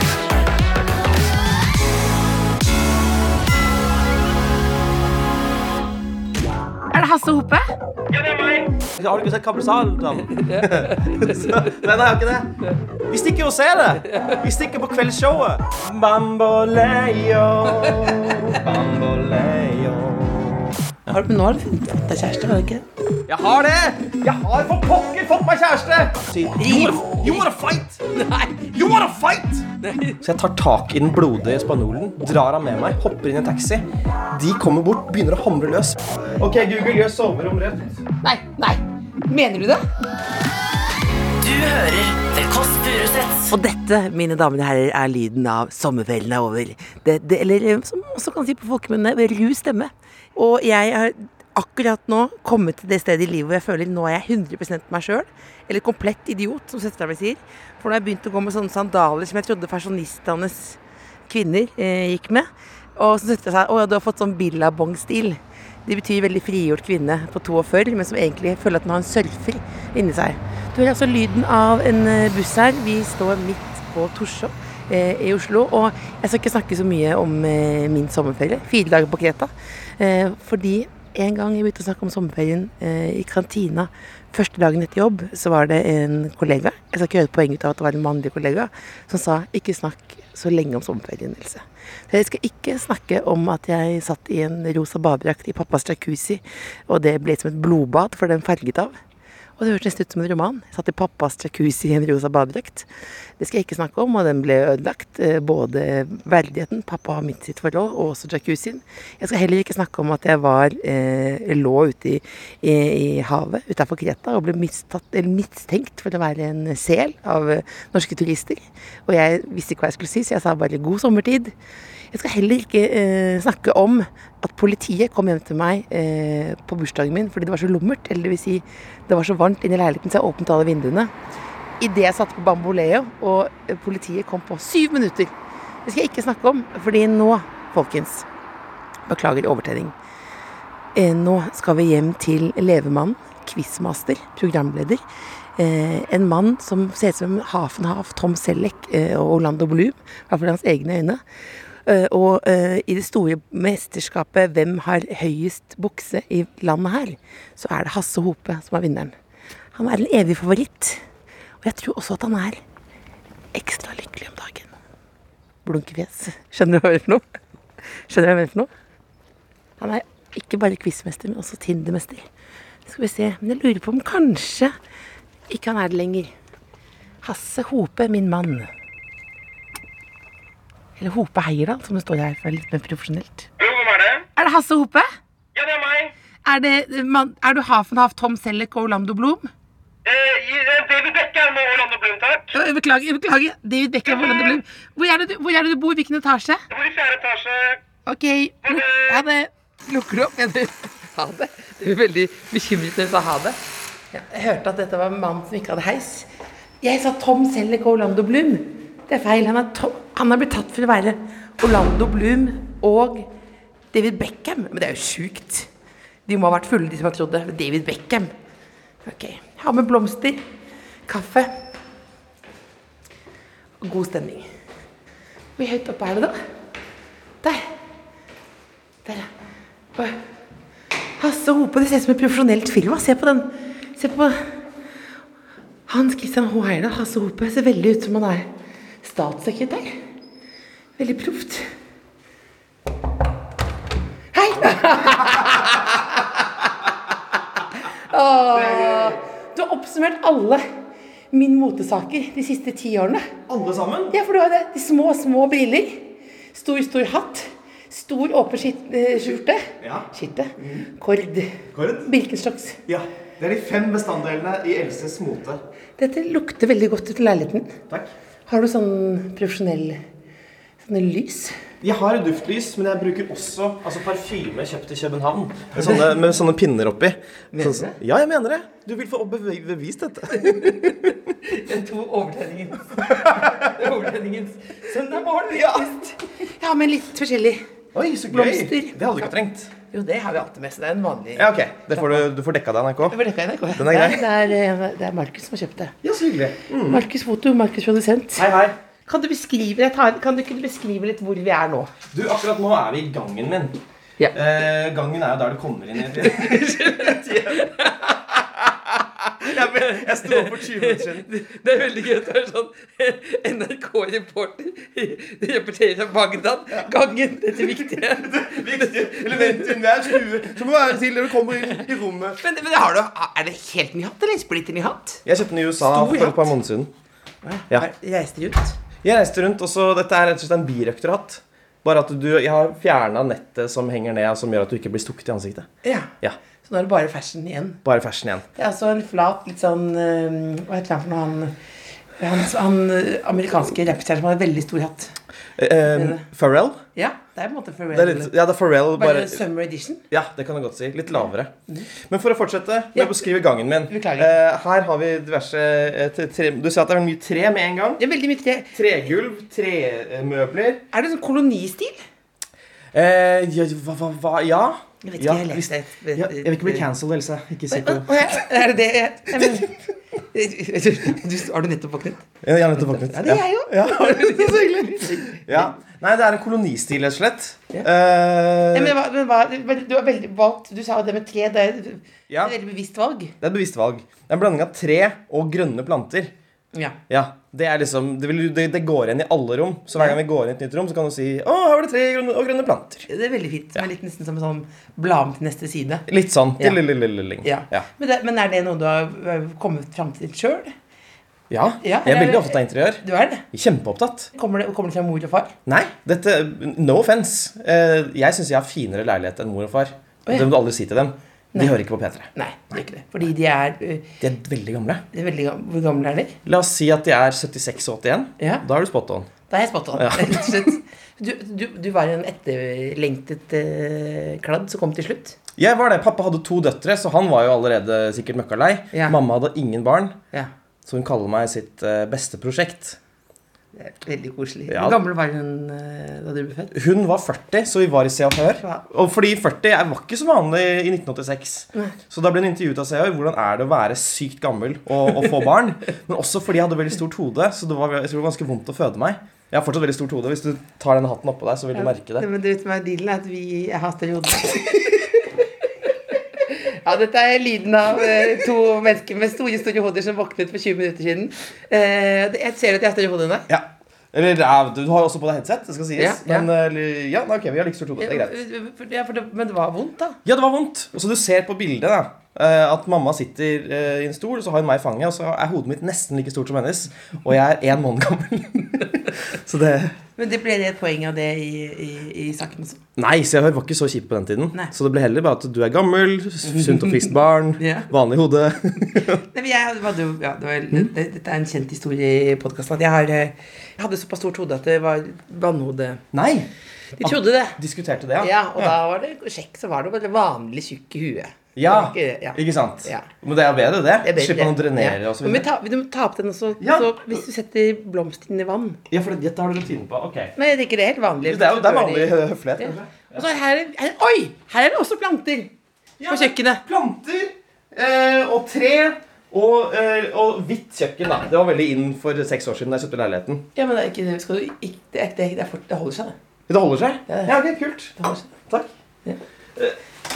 Er det Hasse Hoppe? Har du ikke sett Kappelsalen? Men jeg har ikke det. Vi stikker og ser det. Vi stikker på kveldsshowet. Bamboleo, bamboleo. Nå har du funnet deg kjæreste, var det ikke? Jeg har det! Jeg har for pokker fått meg kjæreste! Si, You wanna, you wanna fight? You wanna fight? Så jeg tar tak i den blodige spanjolen, drar han med meg, hopper inn i en taxi. De kommer bort, begynner å hamre løs. Ok, Google, gjør soverom rødt. Nei, nei. Mener du det? Du hører The Kåss Furuseths. Og dette, mine damer og herrer, er lyden av sommervelden er over. Det, det, eller eh, som man også kan si på folkemunne, ru stemme. Og jeg har akkurat nå kommet til det stedet i livet hvor jeg føler nå er jeg 100 meg sjøl. Eller komplett idiot, som søstera mi sier. For nå har jeg begynt å gå med sånne sandaler som jeg trodde fasjonistenes kvinner eh, gikk med. Og så søstera sa at du har fått sånn billabong-stil. Det betyr veldig frigjort kvinne på 42, men som egentlig føler at den har en surfer inni seg. Du hører altså lyden av en eh, buss her. Vi står midt på Torshov eh, i Oslo. Og jeg skal ikke snakke så mye om eh, min sommerferie, fire dager på Kreta. Eh, fordi en gang jeg begynte å snakke om sommerferien eh, i kantina første dagen etter jobb, så var det en kollega, jeg skal ikke gjøre et poeng ut av at det var en mannlig kollega, som sa ikke snakk så lenge om sommerferien, Else. Så jeg skal ikke snakke om at jeg satt i en rosa badedrakt i pappas jacuzzi, og det ble som et blodbad, for den farget av. Og det hørtes nesten ut som en roman. Jeg satt i pappas jacuzzi i en rosa badedrakt. Det skal jeg ikke snakke om, og den ble ødelagt. eh, Både verdigheten, pappa har mitt sitt forhold, og også jacuzzien. Jeg skal heller ikke snakke om at jeg var, eh, lå ute i, i, i havet utafor Kreta og ble mistatt, eller mistenkt for å være en sel av eh, norske turister. Og jeg visste ikke hva jeg skulle si, så jeg sa bare 'god sommertid'. Jeg skal heller ikke eh, snakke om at politiet kom hjem til meg eh, på bursdagen min fordi det var så lummert. Eller det vil si, det var så varmt inne i leiligheten, så jeg åpnet alle vinduene. Idet jeg satte på bamboleo, og eh, politiet kom på syv minutter. Det skal jeg ikke snakke om, fordi nå, folkens Beklager overtenning. Eh, nå skal vi hjem til levemannen, quizmaster, programleder. Eh, en mann som ser ut som Hafenhaf, Tom Selleck eh, og Orlando Bloom, i hvert fall i hans egne øyne. Eh, og eh, i det store mesterskapet 'Hvem har høyest bukse i landet her?' så er det Hasse Hope som er vinneren. Han er en evig favoritt. Og jeg tror også at han er ekstra lykkelig om dagen. Blunkefjes. Skjønner du hva jeg mener for noe? Skjønner du hva jeg mener for noe? Han er ikke bare quizmester, men også Tinder-mester. Skal vi se. Men jeg lurer på om kanskje ikke han er det lenger. Hasse Hope, min mann. Eller Hope Heierdal, som det står her for litt mer profesjonelt. Er det Hasse Hope? Ja, det er meg. Er, det, eh, man- er du Hafenhaft, Tom Selleck og Orlando Bloom? Eh, i- eh, David Beckham og Orlando Bloom, takk. Ja, Beklager, beklager. David Beckham, Orlando Bloom. Hvor er det du, hvor er det du bor? Hvilken etasje? Jeg bor i fjerde etasje. Ok, luk- ha det. Lukker opp, mener du? Ha det? Du er veldig bekymret når du sa ha det. Ja, jeg hørte at dette var en mann som ikke hadde heis. Jeg sa Tom Selleck og Orlando Bloom. Det er feil. Han er, Tom, han er blitt tatt for å være Orlando Bloom og David Beckham. Men det er jo sjukt. De må ha vært fulle, de som har trodd det. David Beckham. Ok. Ha med blomster, kaffe og god stemning. Hvor høyt oppe er det, da? Der. Der, ja. Oi. Hasse Hope, det ser ut som et profesjonelt firma. Se på den. Se på Hans Christian H. Heyerdahl, Hasse Hope, ser veldig ut som han er statssekretær. Veldig proft. Hei! Åh, du har oppsummert alle min motesaker de siste ti årene. Alle sammen? Ja, for du har det. De små, små briller. Stor, stor hatt. Stor, åpen skit- eh, skjorte. Ja. Skjorte. Mm. Kord. Kord? Birkenstocks. Ja. Det er de fem bestanddelene i Elses mote. Dette lukter veldig godt ut i leiligheten. Takk. Har du sånn profesjonell sånne lys? Jeg har duftlys, men jeg bruker også altså parfyme kjøpt i København. Med sånne, med sånne pinner oppi. Mener du det? Ja, jeg mener det. Du vil få bevi- bevist dette. Jeg har med litt forskjellig. Oi, så gøy. Blomster. Det hadde du ikke trengt. Jo, det har vi alltid med, så det er en vanlig Ja, ok. Det får du, du får dekka deg, Det NRK. var dekka i NRK. Den er grei. Nei, Det er, eh, det er Markus som har kjøpt det. Ja, så hyggelig. Mm. Markus Foto, Markus produsent. Hei, hei. Kan du beskrive, jeg tar, kan du ikke beskrive litt hvor vi er nå? Du, akkurat nå er vi i gangen min. Ja. Eh, gangen er jo der du kommer inn i Jeg sto opp for 20 minutter siden. Det er veldig gøy at du er sånn NRK-reporter. Du rapporterer fra Bagdad. Gangen, dette viktige. Elementer i hver stue som må være til når du kommer inn i rommet. Men, men har du, er det helt ny hatt, eller splitter ny hatt? Jeg kjøpte den i USA Stor for hatt. et par måneder siden. Ja. Reiste ut. Jeg reiste rundt, og så Dette er rett og slett en birøkterhatt. Bare at du, jeg har fjerna nettet som henger ned, og som gjør at du ikke blir stukket i ansiktet. Ja. Ja, Så nå er det bare fashion igjen. Bare fashion igjen. Det er altså en flat, litt sånn eh, Hva heter han for noe, han han, han eh, amerikanske rappstjernen som har en veldig stor hatt. Eh, Eh, Pharrell? Ja, det er på en måte Pharrell. Det er litt, ja, det er Pharrell. bare Bare, Mhm. summer edition. ja, det kan du godt si. Litt lavere. Men for å fortsette med Ja. å beskrive gangen min Beklager. Eh, Her har vi diverse eh, tre, tre, Du ser at det er mye tre med en gang. Det er veldig mye tre. Tregulv, tremøbler Er det sånn kolonistil? eh, ja, hva, hva, hva Ja? Jeg vet ikke, Ja, jeg visst. leste det. Ja, jeg vil ikke bli cancelled, Else. Ikke si på Å, ja, Er det det Nei, men- du, Har du nettopp våknet? Ja, jeg har nettopp våknet. Ja, det er jeg jo. Ja. Ja. Nei, det er en kolonistil, rett og slett. Ja. Eh, Nei, Men, hva- men hva, men du har veldig valgt Du sa jo det med tre. Det er det ja, er et veldig bevisst valg. det er et bevisst valg. Det er en blanding av tre og grønne planter. Ja. Ja, Det er liksom, det, vil, det, det går igjen i alle rom. Så hver gang vi går inn i et nytt rom, så kan du si Å, her var det tre grønne, og grønne planter. Det er veldig fint. Det er litt nesten som en sånn bla med til neste side. Litt sånn. Ja. tilililililling. Ja. Ja. Men, det, men er det noe du har øh, kommet fram til sjøl? ja. Ja, Jeg er eller- veldig opptatt av interiør. Du er det? Kjempeopptatt. Kommer det, kommer det fra mor og far? Nei, dette No offense. Eh, jeg syns jeg har finere leilighet enn mor og far. ja. Det må du aldri si til dem. De Nei. hører ikke på P3. Nei, det er ikke det. Fordi de er, øh, De er veldig gamle. de er veldig gam- Hvor gamle er de? La oss si at de er 76 og 81. Ja. Da er du spot on. Da er jeg spot on. Ja. rett og slett. Du, du, du var en etterlengtet eh, kladd som kom til slutt. Jeg var det. Pappa hadde to døtre, så han var jo allerede sikkert møkkalei. Ja. Mamma hadde ingen barn, Ja, så hun kaller meg sitt eh, beste prosjekt. det er Veldig koselig. Ja. Hvor gammel var hun eh, da du ble født? Hun var 40, så vi var i Se og Hør. Ja. Og fordi 40 er- var ikke så vanlig i 1986. Så da ble hun intervjuet av Se og Hør. Hvordan er det å være sykt gammel og, og få barn? Men også fordi jeg hadde veldig stort hode, så det var, jeg tror det var ganske vondt å føde meg. Jeg har fortsatt veldig stort hode. Hvis du tar denne hatten oppå deg, så vil du merke det. Men du vet hva dealen er? At vi jeg har større hode. Ja, dette er lyden av eh, to mennesker med store store hoder som våknet for 20 minutter siden. Eh, det- jeg ser at jeg har større hode enn deg. Ja. Eller ja, du har jo også på deg headset, det skal sies. Ja, ja. Men eh, eller, ja, nei, ok, vi har like stort hode. Det er greit. Ja, Eh, for det, men det var vondt, da. Ja, det var vondt. Og så du ser på bildet da, eh, at mamma sitter eh, i en stol, og så har hun meg i fanget, og så er hodet mitt nesten like stort som hennes, og jeg er én måned gammel. så det Men det ble det et poeng av det i, i, i saken også. Nei, så jeg var ikke så kjip på den tiden. Nei. Så det ble heller bare at du er gammel, sunt og friskt barn, Ja. vanlig hode. Nei, men jeg hadde jo, ja, det var, det, Dette er en kjent historie i podkasten. At jeg, har, eh, jeg hadde såpass stort hode at det var vannhode. Nei! De trodde det. Diskuterte det, Ja, Og da var det sjekk, så var det bare vanlig tjukk i huet. Ja, Det var ikke- ja. ikke sant? Ja. Men det er bedre, Jeg det. vet Slipper det. man å drenere Ja. og så Men vi videre. tar- Du må ta opp den også. Ja. Så hvis du setter blomsten inn i vann Ja, for dette har du rutinen på. Ok. Nei, jeg tenker det er helt vanlig. Det er jo det er vanlig hø- høflighet, kanskje. Og så her, er- her, oi! Her er det også planter. På kjøkkenet. planter eh, og tre og, eh, og hvitt kjøkken, da. Det var veldig inn for seks år siden da jeg kjøpte leiligheten. Ja, men det er ikke det. Skal du ikke, det, er, det, er, det, er fort, det holder seg, det. Det holder seg? Ja. Ja, ok, kult. det holder seg. Takk.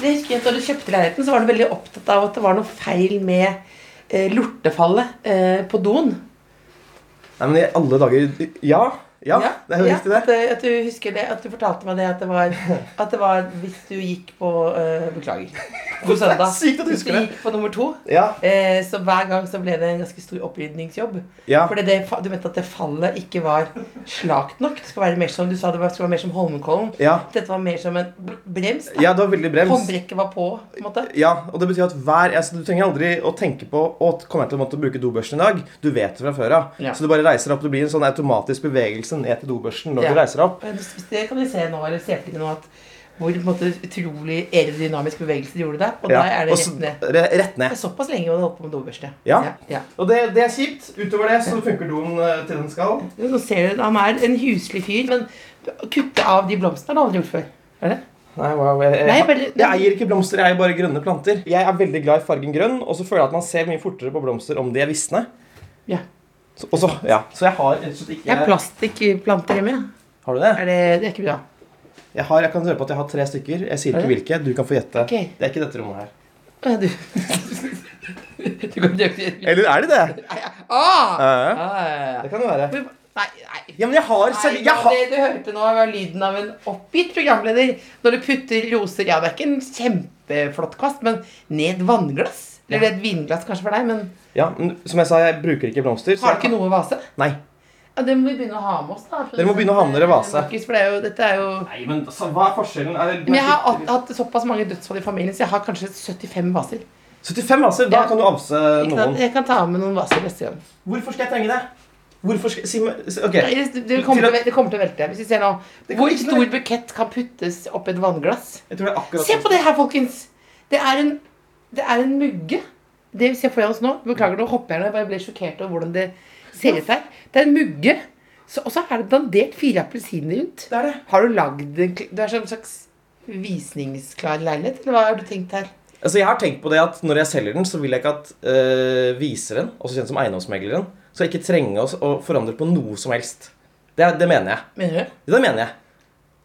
Det husker jeg at Da du kjøpte leiligheten, så var du veldig opptatt av at det var noe feil med eh, lortefallet eh, på doen. Nei, men i alle dager Ja. Ja, det er jo riktig, At, det. eh, at du husker det, at du fortalte meg det, at det var, at det var hvis du gikk på eh, Beklager. På søndag. sykt at du husker det. Hvis du gikk på nummer to, Ja. eh, så hver gang så ble det en ganske stor opprydningsjobb. Ja. Fordi det, fa- du mente at det fallet ikke var slakt nok. Det skal være mer som, Du sa det var, skulle være mer som Holmenkollen. Ja. Dette var mer som en br- brems. da. ja, det var veldig brems. Håndbrekket var på, på en måte. Ja, og det betyr at hver, altså, Du trenger aldri å tenke på å, kommer jeg til å måtte bruke dobørsten i dag. Du vet det fra før av. Ja. Så du bare reiser deg opp. Det blir en sånn automatisk bevegelse bevegelse ned til dobørsten når Ja. du reiser deg opp. Men Eh, Hvis det kan vi se nå, eller se etter nå, at hvor på en måte, utrolig aerodynamisk bevegelse de gjorde der. Og Ja, da er det og så- rett ned. re- Rett Det ned. er såpass lenge hun har holdt på med dobørste. Ja. Ja, Og det, det er kjipt. Utover det så funker doen eh, til den skal. Jo, Nå ser du, Han er en huslig fyr, men å kutte av de blomstene har han aldri gjort før. Er det? Nei, hva- jeg, jeg, Nei, bare- jeg eier ikke blomster, jeg eier bare grønne planter. Jeg er veldig glad i fargen grønn, og så føler jeg at man ser mye fortere på blomster om de er visne. Ja. Så, og så, ja. så jeg har rett og slett ikke Jeg har plastikkplanter hjemme. ja. Har du det? Er det, det er ikke bra. Jeg, har, jeg kan høre på at jeg har tre stykker. Jeg sier Er ikke hvilke. Du kan få gjette. Ok. Det er ikke dette rommet her. Å, ja, Du, du kan ikke Eller er det det? ah! Ja, Ah, ja, ja. det kan det være. Men- Nei, nei. Ja, men jeg har Nei, seri... Jeg har Det du hørte nå, var lyden av en oppgitt programleder når du putter roser Ja, det er ikke en kjempeflott kast, men ned vannglass. Eller et vinglass kanskje for deg, men ja, men Som jeg sa, jeg bruker ikke blomster. har du ikke noe vase? Nei. Ja, Det må vi begynne å ha med oss, da. Dere må begynne å ha med dere vase. Markus, for det er jo, dette er jo Nei, men altså, Hva er forskjellen? Er det Men jeg har hatt- hatt såpass mange dødsfall i familien, så jeg har kanskje 75 vaser. 75 vaser? altså. Da Ja. kan du avse Ikke sant? noen. Jeg kan ta med noen vaser neste gang. Hvorfor skal jeg trenge det? Hvorfor skal Si meg si- OK. Nei, Det, det, kommer til, Til at- å- det kommer til å velte. Hvis vi ser nå Det kommer Hvor ikke til å stor velte. bukett kan puttes oppi et vannglass? Jeg tror det er akkurat sånn. Se på det her, folkens! Det er en, det er en mugge. Det vi ser foran oss nå Beklager, nå hopper jeg ned. Jeg bare ble sjokkert over hvordan det ser ut her. Det er en mugge. Så, og så er det dandert fire appelsiner rundt. Det er det. Har du lagd en kl- Du er som en slags visningsklar leilighet, eller hva har du tenkt her? Altså, jeg har tenkt på det at Når jeg selger den, så vil jeg ikke at øh, viseren, også kjent som eiendomsmegleren, skal ikke trenge oss å forandre på noe som helst. Det, er- det mener jeg. Mener du? Det mener jeg.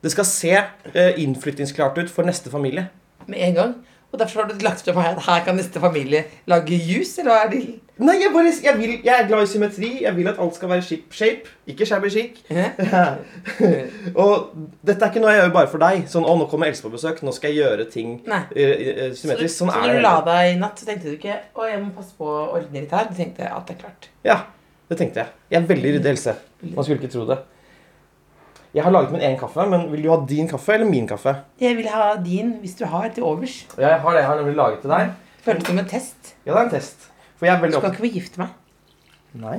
Det skal se øh, innflyttingsklart ut for neste familie. Med en gang. Og derfor har du lagt frem her at her kan neste familie lage jus, eller hva er det? Nei, jeg, bare, jeg, vil, jeg er glad i symmetri. Jeg vil at alt skal være ship shape, ikke shabby chic. og dette er ikke noe jeg gjør bare for deg. Sånn, å, nå kommer Else på besøk, nå skal jeg gjøre ting Nei. øh, øh, Så, du, symmetrisk. så Sånn når er du det. la hele- deg i natt, så tenkte du ikke å, jeg må passe på å ordne litt her. Du tenkte at det er klart. Ja, det tenkte jeg. Jeg er veldig ryddig, Else. Man skulle ikke tro det. Jeg har laget min egen kaffe, men vil du ha din kaffe eller min kaffe? Jeg vil ha din hvis du har til overs. Jeg har det jeg har nemlig laget til deg. Føles som en test. Ja, det er en test. For jeg er Du veldig kan opptatt ikke få gifte meg. Nei.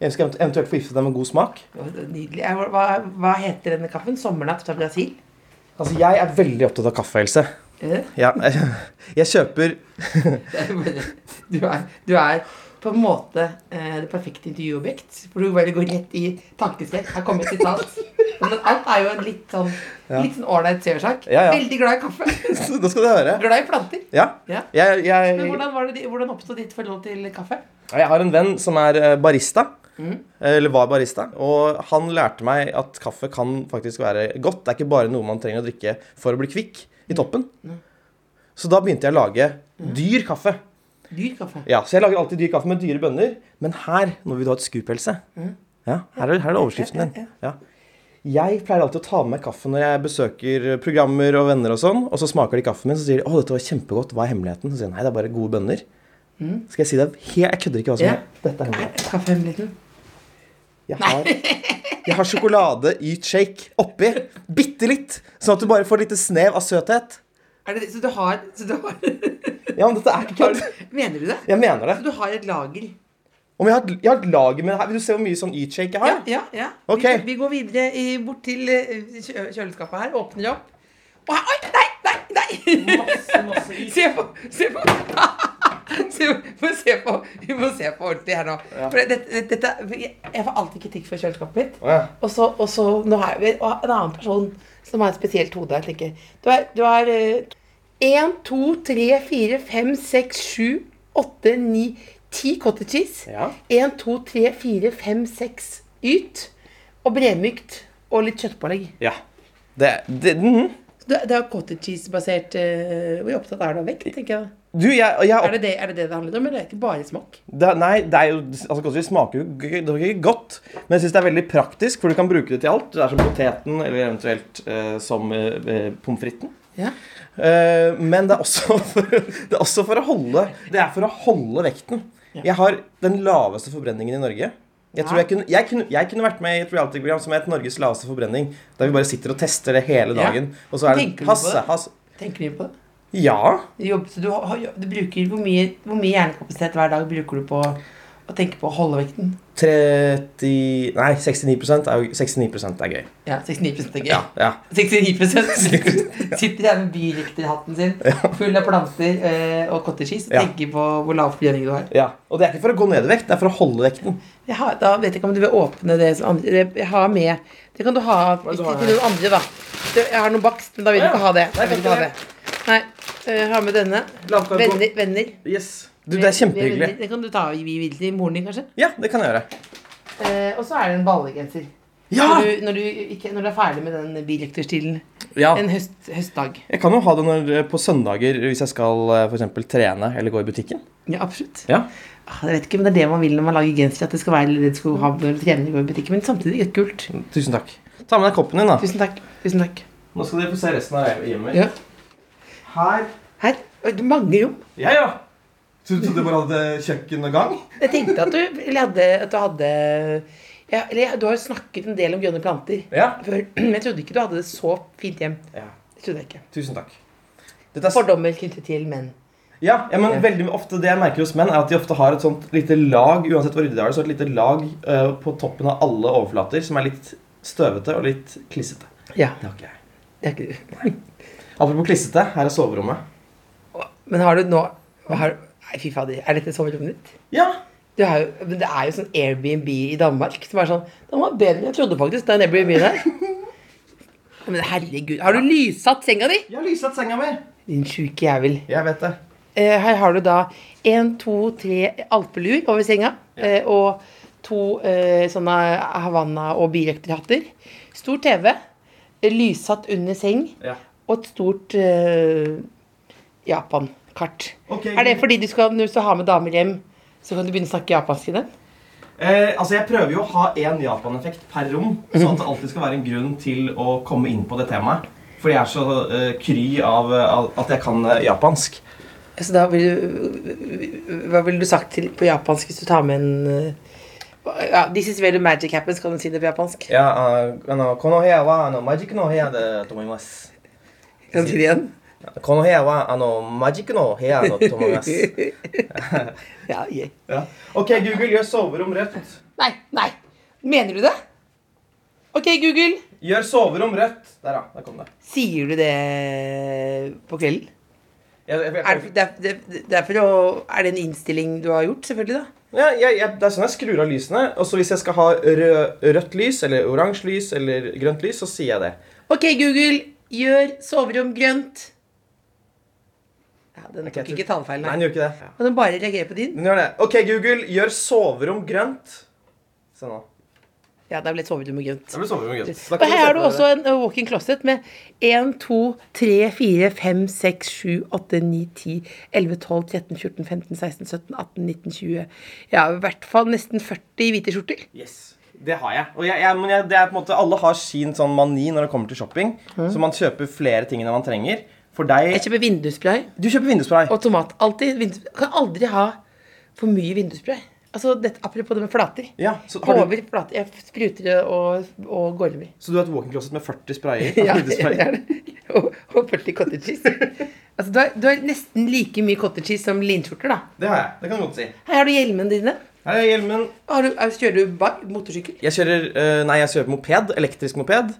Jeg skal event- eventuelt forgifte deg med god smak. Å, det er Nydelig. Eh, Hva, hva heter denne kaffen? Sommernatt fra Brasil? Eh? Altså, jeg er veldig opptatt av kaffe, Else. Er det Ja, jeg, jeg kjøper det? Du er, du er på en måte eh, det perfekte intervjuobjekt. For du bare går rett i tankesett. Her kommer et sitat. Men alt er jo en litt sånn Litt sånn ålreit seersak. Ja, ja. Veldig glad i kaffe. Da skal du høre. Glad i planter. Ja. Ja. Jeg, jeg, Men hvordan, var det, di- hvordan oppstod ditt forhold til kaffe? jeg har en venn som er eh, barista. Eh, Eller var barista. Og han lærte meg at kaffe kan faktisk være godt. Det er ikke bare noe man trenger å drikke for å bli kvikk i toppen. Så da begynte jeg å lage dyr kaffe. Dyr kaffe. Ja, Så jeg lager alltid dyr kaffe med dyre bønner. Men her når vi da et skuphelse ja, her, er, her er det overskriften din. Mm. Ja. Jeg pleier alltid å ta med meg kaffe når jeg besøker programmer og venner, og sånn, og så smaker de kaffen min, så sier de 'Å, dette var kjempegodt. Hva er hemmeligheten?' Så sier jeg 'Nei, det er bare gode bønner'. Skal jeg si deg he- Jeg kødder ikke hva som Ja. er. Dette er hemmeligheten. Kaffehemmeligheten. Jeg har, jeg har sjokolade i shake oppi. Bitte litt. Sånn at du bare får et lite snev av søthet. Er det, så du har, så du har Ja, men dette er ikke kødd. Mener du det? Jeg mener det. Så du har et lager? Om jeg har, jeg har et lager med det her. Vil du se hvor mye sånn eat-shake jeg har? Ja, ja. ja. Ok. Vi, vi går videre i, bort til eh, kjø kjøleskapet her. Åpner opp. Og her, oi, nei, nei, nei! se på, se på. se, på, se på. Vi må se på ordentlig her nå. For dette, dette, jeg, jeg får alltid kritikk for kjøleskapet mitt. Å, ja. Og så, og så nå har vi og en annen person som har et spesielt hode. Jeg tenker, du har, du har eh, 1, 2, 3, 4, 5, 6, 7, 8, 9, 10 cottage cheese. Ja. 1, 2, 3, 4, 5, 6 yt. Og bremykt. Og litt kjøttpålegg. Ja. Det, det, mhm. Så Det, det er jo cottage cheese-basert eh, Hvor opptatt er du av vekt, tenker jeg. Du, jeg, jeg Er det det er det, det, det handler om, eller er det ikke bare smak? det, Nei, det er jo altså, Godteri smaker jo g- det er ikke godt, men jeg syns det er veldig praktisk, for du kan bruke det til alt. Det er som poteten, eller eventuelt eh, som eh, eh, pommes fritesen. Ja. Eh, men det er, også for, det er også for å holde Det er for å holde vekten. Jeg har den laveste forbrenningen i Norge. Jeg tror jeg kunne, jeg kunne, jeg kunne vært med i et reality-program som het 'Norges laveste forbrenning', der vi bare sitter og tester det hele Ja. dagen. Og så er Tenker du det på hasse, det? hasse Tenker du på det? Ja. Du, jobber, så du, har- har- du bruker, hvor, mye, hvor mye hjernekapasitet hver dag bruker du på å tenke på å holde vekten. 30 Nei, 69 er, jo- 69 er gøy. Ja, 69 tenker jeg. Ja. 69 sitter der med birikterhatten sin, full av planter eh, og cottageis, og Ja. tenker på hvor lav forbrenning du har. ja. Og det er ikke for å gå ned i vekt, det er for å holde vekten. Jeg har. Da vet jeg ikke om du vil åpne det som andre det- Jeg har med Det kan du ha ikke har til noen andre, da. Det- Jeg har noe bakst, men da vil du Ja, ikke ha det. nei, Jeg vil ikke ha det. takk Nei. Jeg har med denne. Lavkarbo. Venner. venner. Yes. Du, det er kjempehyggelig. Det kan du ta i videre til moren din, kanskje. Ja, det kan jeg gjøre. Eh, og så er det en ballegenser. Ja! Når, du, når, du ikke, når du er ferdig med den bilektorstilen ja. en høst, høstdag. Jeg kan jo ha det når, eh, på søndager hvis jeg skal eh, for eksempel trene eller gå i butikken. Ja, absolutt. Ja. Ah, Jeg vet ikke, men Det er det man vil når man lager genser. At det skal være det du skal ha når du trener i butikken. Men samtidig er det kult. Tusen takk. Ta med deg koppen din, da. Tusen takk. Tusen takk. Nå skal dere få se resten av hjemmet Ja. Her. Her. Oi, det er Mange rom. Ja, ja. Trodde du bare hadde kjøkken og gang? Jeg tenkte at du, eller hadde, at du hadde ja, eller, ja, Du har jo snakket en del om grønne planter Ja. før, men jeg trodde ikke du hadde det så fint hjem. Ja. Det trodde jeg ikke. Tusen takk. Dette er s- Fordommer knyttet til menn. ja, ja, men veldig ofte Det jeg merker hos menn, er at de ofte har et sånt lite lag uansett hvor ryddig det er, så er det et lite lag eh, på toppen av alle overflater som er litt støvete og litt klissete. Ja, Det har ikke jeg. det er ikke du. Apropos klissete, her er soverommet. Men har du nå har, Nei, fy fader. Er dette soverommet ditt? Ja, Du har jo, men det er jo sånn Airbnb i Danmark som er sånn Den var bedre enn jeg trodde, faktisk. Den Airbnb der. Men herregud, har du lyssatt senga di? jeg har lyset senga mi. Din sjuke jævel. Jeg vet det. Eh, her har du da én, to, tre alpeluer over senga. Eh, og to eh, sånne Havanna- og birøkterhatter. Stor TV. Lyssatt under seng. Ja. Og et stort eh, Japan-kart. Ok, er det fordi du skal, når du skal ha med damer hjem, så kan du begynne å snakke japansk i den? Eh, altså Jeg prøver jo å ha én Japan-effekt per rom, sånn at det alltid skal være en grunn til å komme inn på det temaet. Fordi jeg er så eh, kry av eh, av at jeg kan eh, japansk. Så da vil du, hva ville du sagt til, på japansk hvis du tar med en eh, ja, This is where the magic happens, kan du si det på japansk? Ja, uh, no, kono hea wa ano, magic no hea de tomoimasu. Kan du si det igjen? Kono hea wa ano, magic no hea no tomoimasu. Ja, yeah. Ja. Ok, Google, gjør soverom rødt. Nei, nei! Mener du det? OK, Google. Gjør soverom rødt. Der, ja. Der kom det. Sier du det på kvelden? Jeg, jeg, Er jeg, det, det, er- det, det er, for å, er det en innstilling du har gjort, selvfølgelig, da? ja, jeg, jeg, det er sånn jeg skrur av lysene. Og så hvis jeg skal ha rød, rødt lys, eller oransje lys, eller grønt lys, så sier jeg det. OK, Google. Gjør soverom grønt. Ja, Den tok jeg tror- ikke tallfeil, Nei, nei. den gjør ikke det. Kan den bare reagere på din? Den gjør det. Ok, Google, gjør soverom grønt. Se nå. Ja, da ble soverommet grønt. Det blir soverom grønt. Da Og kan her har se du på også en uh, walk-in closet med 1, 2, 3, 4, 5, 6, 7, 8, 9, 10, 11, 12, 13, 14, 15, 16, 17, 18, 19, 20 Ja, i hvert fall nesten 40 hvite skjorter. Yes. Det har jeg. Og jeg, jeg, men jeg, det er på en måte, alle har sin sånn mani når det kommer til shopping. Så man kjøper flere ting enn man trenger. For Mm. Jeg deg kjøper vindusspray Du kjøper vindusspray. og tomat. Alltid. vindus- Jeg kan aldri ha for mye vindusspray. Altså, dette, apropos det med flater. Ja, så, har du, Over flater. Jeg spruter det og, og går over. så du har et walking-closet med 40 sprayer? Ja, vindusspray. det er det. Og, og 40 cottage cheese. Altså, du har, du har nesten like mye cottage cheese som linskjorter, da. Det har jeg. Det kan du godt si. Her har du hjelmene dine. Her er hjelmen. Har du, er- kjører du bar, motorsykkel? Jeg kjører eh, Nei, jeg kjører moped. Elektrisk moped.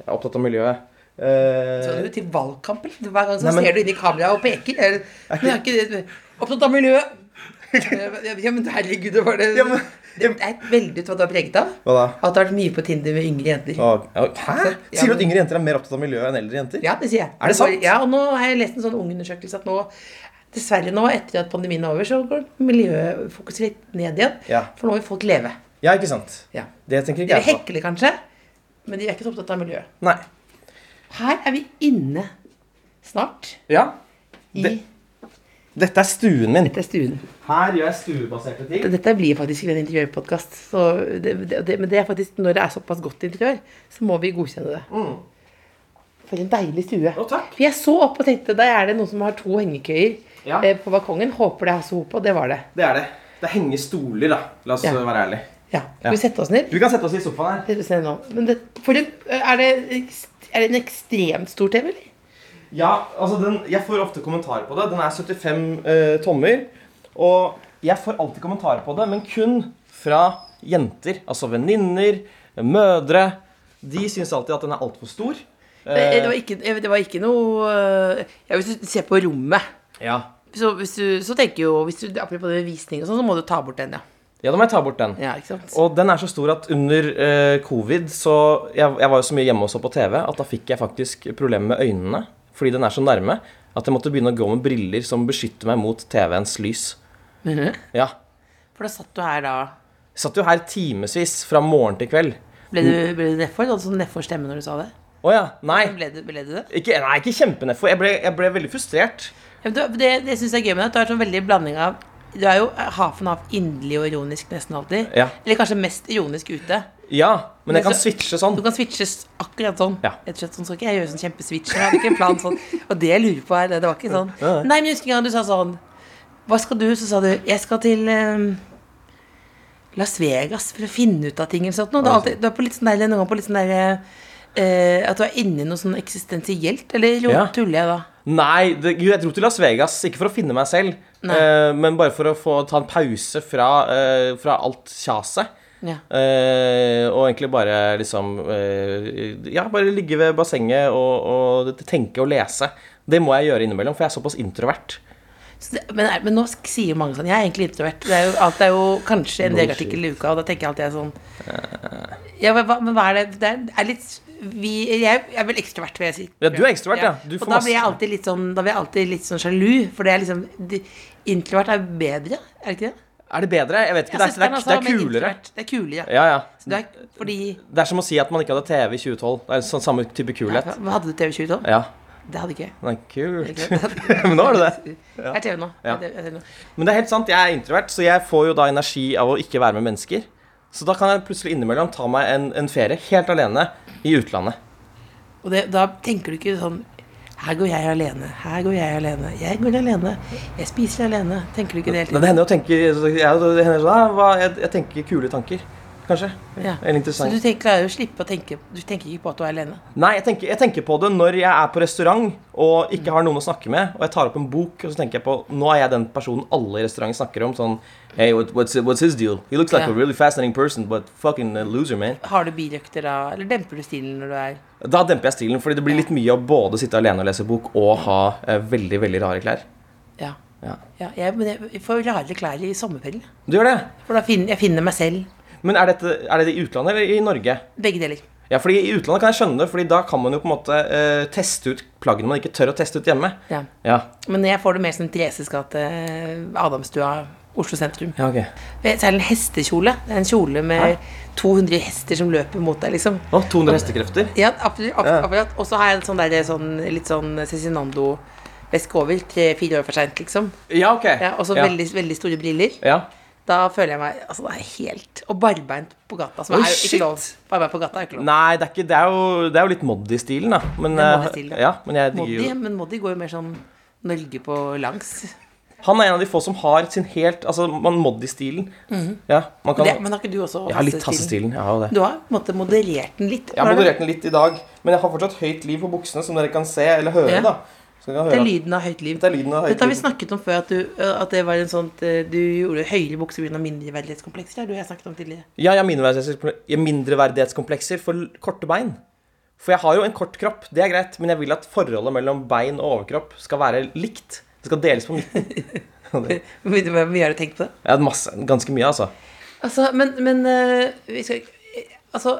Jeg er opptatt av miljøet. Eh, Så er du til valgkamp. eller? Hver gang så Nei, men- ser du inn i kameraet og peker. Er, men jeg er ikke det- opptatt av miljøet. Eh, Ja, men herregud, det var det. Ja, men- det er veldig ut hva du har preget av. hva da? At du har vært mye på Tinder med yngre jenter. Å, å, hæ? Ja, Sier du at men- yngre jenter er mer opptatt av miljøet enn eldre jenter? Ja, det sier jeg. Er det sant? Ja, og nå har jeg lest en sånn ungundersøkelse at nå Dessverre nå, etter at pandemien er over, så går miljøfokuset litt ned igjen. Ja. For nå vil folk leve. Ja, ikke sant? Ja. Det tenker De ikke vil jeg på. hekle, kanskje, men de er ikke så opptatt av miljøet. Nei. Her er vi inne snart Ja. i Det- Dette er stuen min. Dette er stuen. Her gjør jeg stuebaserte ting. Dette blir faktisk ikke en interiørpodkast. så det- det- det- Men det er faktisk, når det er såpass godt interiør, så må vi godkjenne det. For en deilig stue. Mm. Å, takk. For jeg så opp og tenkte der er det noen som har to hengekøyer Ja. eh, på balkongen. Håper det er Hasse Hope, og det var det. Det er det. Det henger stoler, da. La oss Ja. øh, være ærlig. Ja. Skal Ja. vi sette oss ned? Du kan sette oss i sofaen her. Sette oss ned nå. Men det, for en, er, det, er det en ekstremt stor TV, eller? Ja, altså den, Jeg får ofte kommentarer på det. Den er 75 øh, tommer. eh, Og Jeg får alltid kommentarer på det, men kun fra jenter. Altså venninner, mødre. De syns alltid at den er altfor stor. Eh, Det Eh, var ikke, eh, det var ikke noe eh, ja, Hvis du ser på rommet, Eh, ja. så, hvis du, så tenker jo hvis du, Apropos det med visning og sånn, så må du ta bort den, ja. ja, da må jeg ta bort den. ja ikke sant? Og den er så stor at under eh, covid så jeg, jeg var jo så mye hjemme og så på TV at da fikk jeg faktisk problemer med øynene. Fordi den er så nærme at jeg måtte begynne å gå med briller som beskytter meg mot TV-ens lys. Ja. For da satt du her da Satt jo her timevis fra morgen til kveld. Ble du, ble du nedfor? Du hadde sånn nedfor stemme når du sa det? Å ja. Nei. Ble du, ble du det? Ikke, nei, ikke kjempeneffo. Jeg, ble- jeg ble veldig frustrert. Ja, men du- Det, det syns jeg er gøy med deg. at Du er sånn veldig blanding av Du er jo hafen av inderlig og ironisk nesten alltid. Ja. Eller kanskje mest ironisk ute. Ja, men Men jeg kan så- switche sånn. Du kan switches akkurat sånn. Ja. Rett og slett sånn, så ikke jeg gjør sånn kjempeswitch. Jeg hadde ikke en plan sånn. Og det jeg lurer på her, det, det var ikke sånn. Nei, men jeg husker en gang du sa sånn Hva skal du? Så sa du Jeg skal til eh, Las Vegas for å finne ut av ting eller sånt. noe. Du er, alltid, du er på litt sånn der, noen ganger på litt sånn der eh, At du er inni noe sånn eksistensielt. Eller ro- Ja. tuller jeg da? Nei, det, jo, jeg dro til Las Vegas, ikke for å finne meg selv, eh, men bare for å få ta en pause fra, eh, fra alt kjaset. Ja. Eh, og egentlig bare liksom eh, Ja, bare ligge ved bassenget og, og tenke og lese. Det må jeg gjøre innimellom, for jeg er såpass introvert. Så det, men, er- men nå sk- sier mange sånn Jeg er egentlig introvert. Det er jo, alt er jo kanskje en VG-artikkel i uka, og da tenker jeg alltid jeg er sånn Eh. ja, men, hva, men hva er det Det er, det er litt vi, Jeg er vel ekstrovert, vil jeg si. Ja, du er ekstrovert, ja. Du får og da masse- blir jeg alltid litt sånn Da blir jeg alltid litt sånn sjalu, for det er liksom de, Introvert er bedre, er det ikke det? Er det bedre? Jeg vet ikke. Ja, det, er, det, søsteren er, hans det var er med kulere. Eh, introvert. Det er kulere. Ja, ja. Så det er, fordi Det er som å si at man ikke hadde TV i 2012. Det er sånn samme type kulhet. Hva hadde du TV22 om? Ja, Det hadde ikke jeg. det er kult. Det hadde ikke jeg. Men nå er det det. Jeg er TV nå. Ja. Jeg er TV nå. Men det er helt sant, jeg er introvert, så jeg får jo da energi av å ikke være med mennesker. Så da kan jeg plutselig innimellom ta meg en, en ferie helt alene i utlandet. Og det, da tenker du ikke sånn Her går jeg alene, her går jeg alene, jeg går alene, jeg spiser alene. Tenker du ikke det hele Men det tiden? hender jo å tenke jeg, det hender sånn, «Ah, hva, jeg, jeg tenker kule tanker, kanskje. Ja. Eller Så du interessant. tenker, klarer å slippe å tenke Du tenker ikke på at du er alene. Nei, jeg tenker, jeg tenker på det når jeg er på restaurant og ikke har noen å snakke med, og jeg tar opp en bok, og så tenker jeg på Nå er jeg den personen alle i restauranten snakker om. Sånn Hey, what, what's, what's his deal? He looks like Ja. a really fascinating person, but fucking a loser, man. Har du birøkter da, eller demper du stilen når du er Da demper jeg stilen, fordi det blir litt mye å både sitte alene og lese bok og ha eh, veldig veldig rare klær. Ja. Ja. ja jeg, men jeg får rare klær i sommerferien. Du gjør det? For da finner jeg finner meg selv. Men er dette, er det i utlandet eller i Norge? Begge deler. Ja, fordi I utlandet kan jeg skjønne det, fordi da kan man jo på en måte eh, teste ut plaggene man ikke tør å teste ut hjemme. Ja. Ja, Men jeg får det mer som Thereses gate, eh, Adamstua, Oslo sentrum. ja ok. Særlig en hestekjole. Det er en kjole med 200 hester som løper mot deg, liksom. Å, 200 hestekrefter. Ja, absolutt. Ja. absolutt, absolutt. Og så har jeg en sånn der, sånn, litt sånn Cezinando-veske over. Tre-fire år for seint, liksom. Ja, ok. Ja, og så ja. veldig, veldig store briller. Ja. Da føler jeg meg altså, det er helt Og barbeint på gata, som Oi, er jo shit! ikke lov. Barbeint på gata er ikke lov. Nei, det er, ikke, det, er jo, det er jo litt moddi stilen, da. Men, Det er eh, Moddi-stilen, da. ja, men jeg digger Moddi, jo men Moddi går jo mer sånn Norge på langs. Han er en av de få som har sin helt Altså, man moddi-stilen. Ja, man kan Det, Mhm. men har ikke du også Jeg har litt hassestilen? tassestilen. Jeg har jo det. Du har på en måte moderert den litt. Jeg har Hva er det? moderert den litt i dag, men jeg har fortsatt høyt liv på buksene, som dere kan se eller høre. Ja. da. Så dere kan Det høre er at- lyden av høyt liv. Det er lyden av høyt Dette har vi liv. snakket om før, at du, at det var en sånt, eh, du gjorde høyere bukser pga. mindreverdighetskomplekser. Det er du jeg har snakket om tidligere. Ja, jeg har mindreverdighetskomple- jeg har mindreverdighetskomplekser for l- korte bein. For jeg har jo en kort kropp, det er greit, men jeg vil at forholdet mellom bein og overkropp skal være likt. Det skal deles på midten. Hvor mye har du tenkt på det? Jeg har hatt masse, ganske mye, altså. Altså, men, men eh, vi skal ikke- Altså,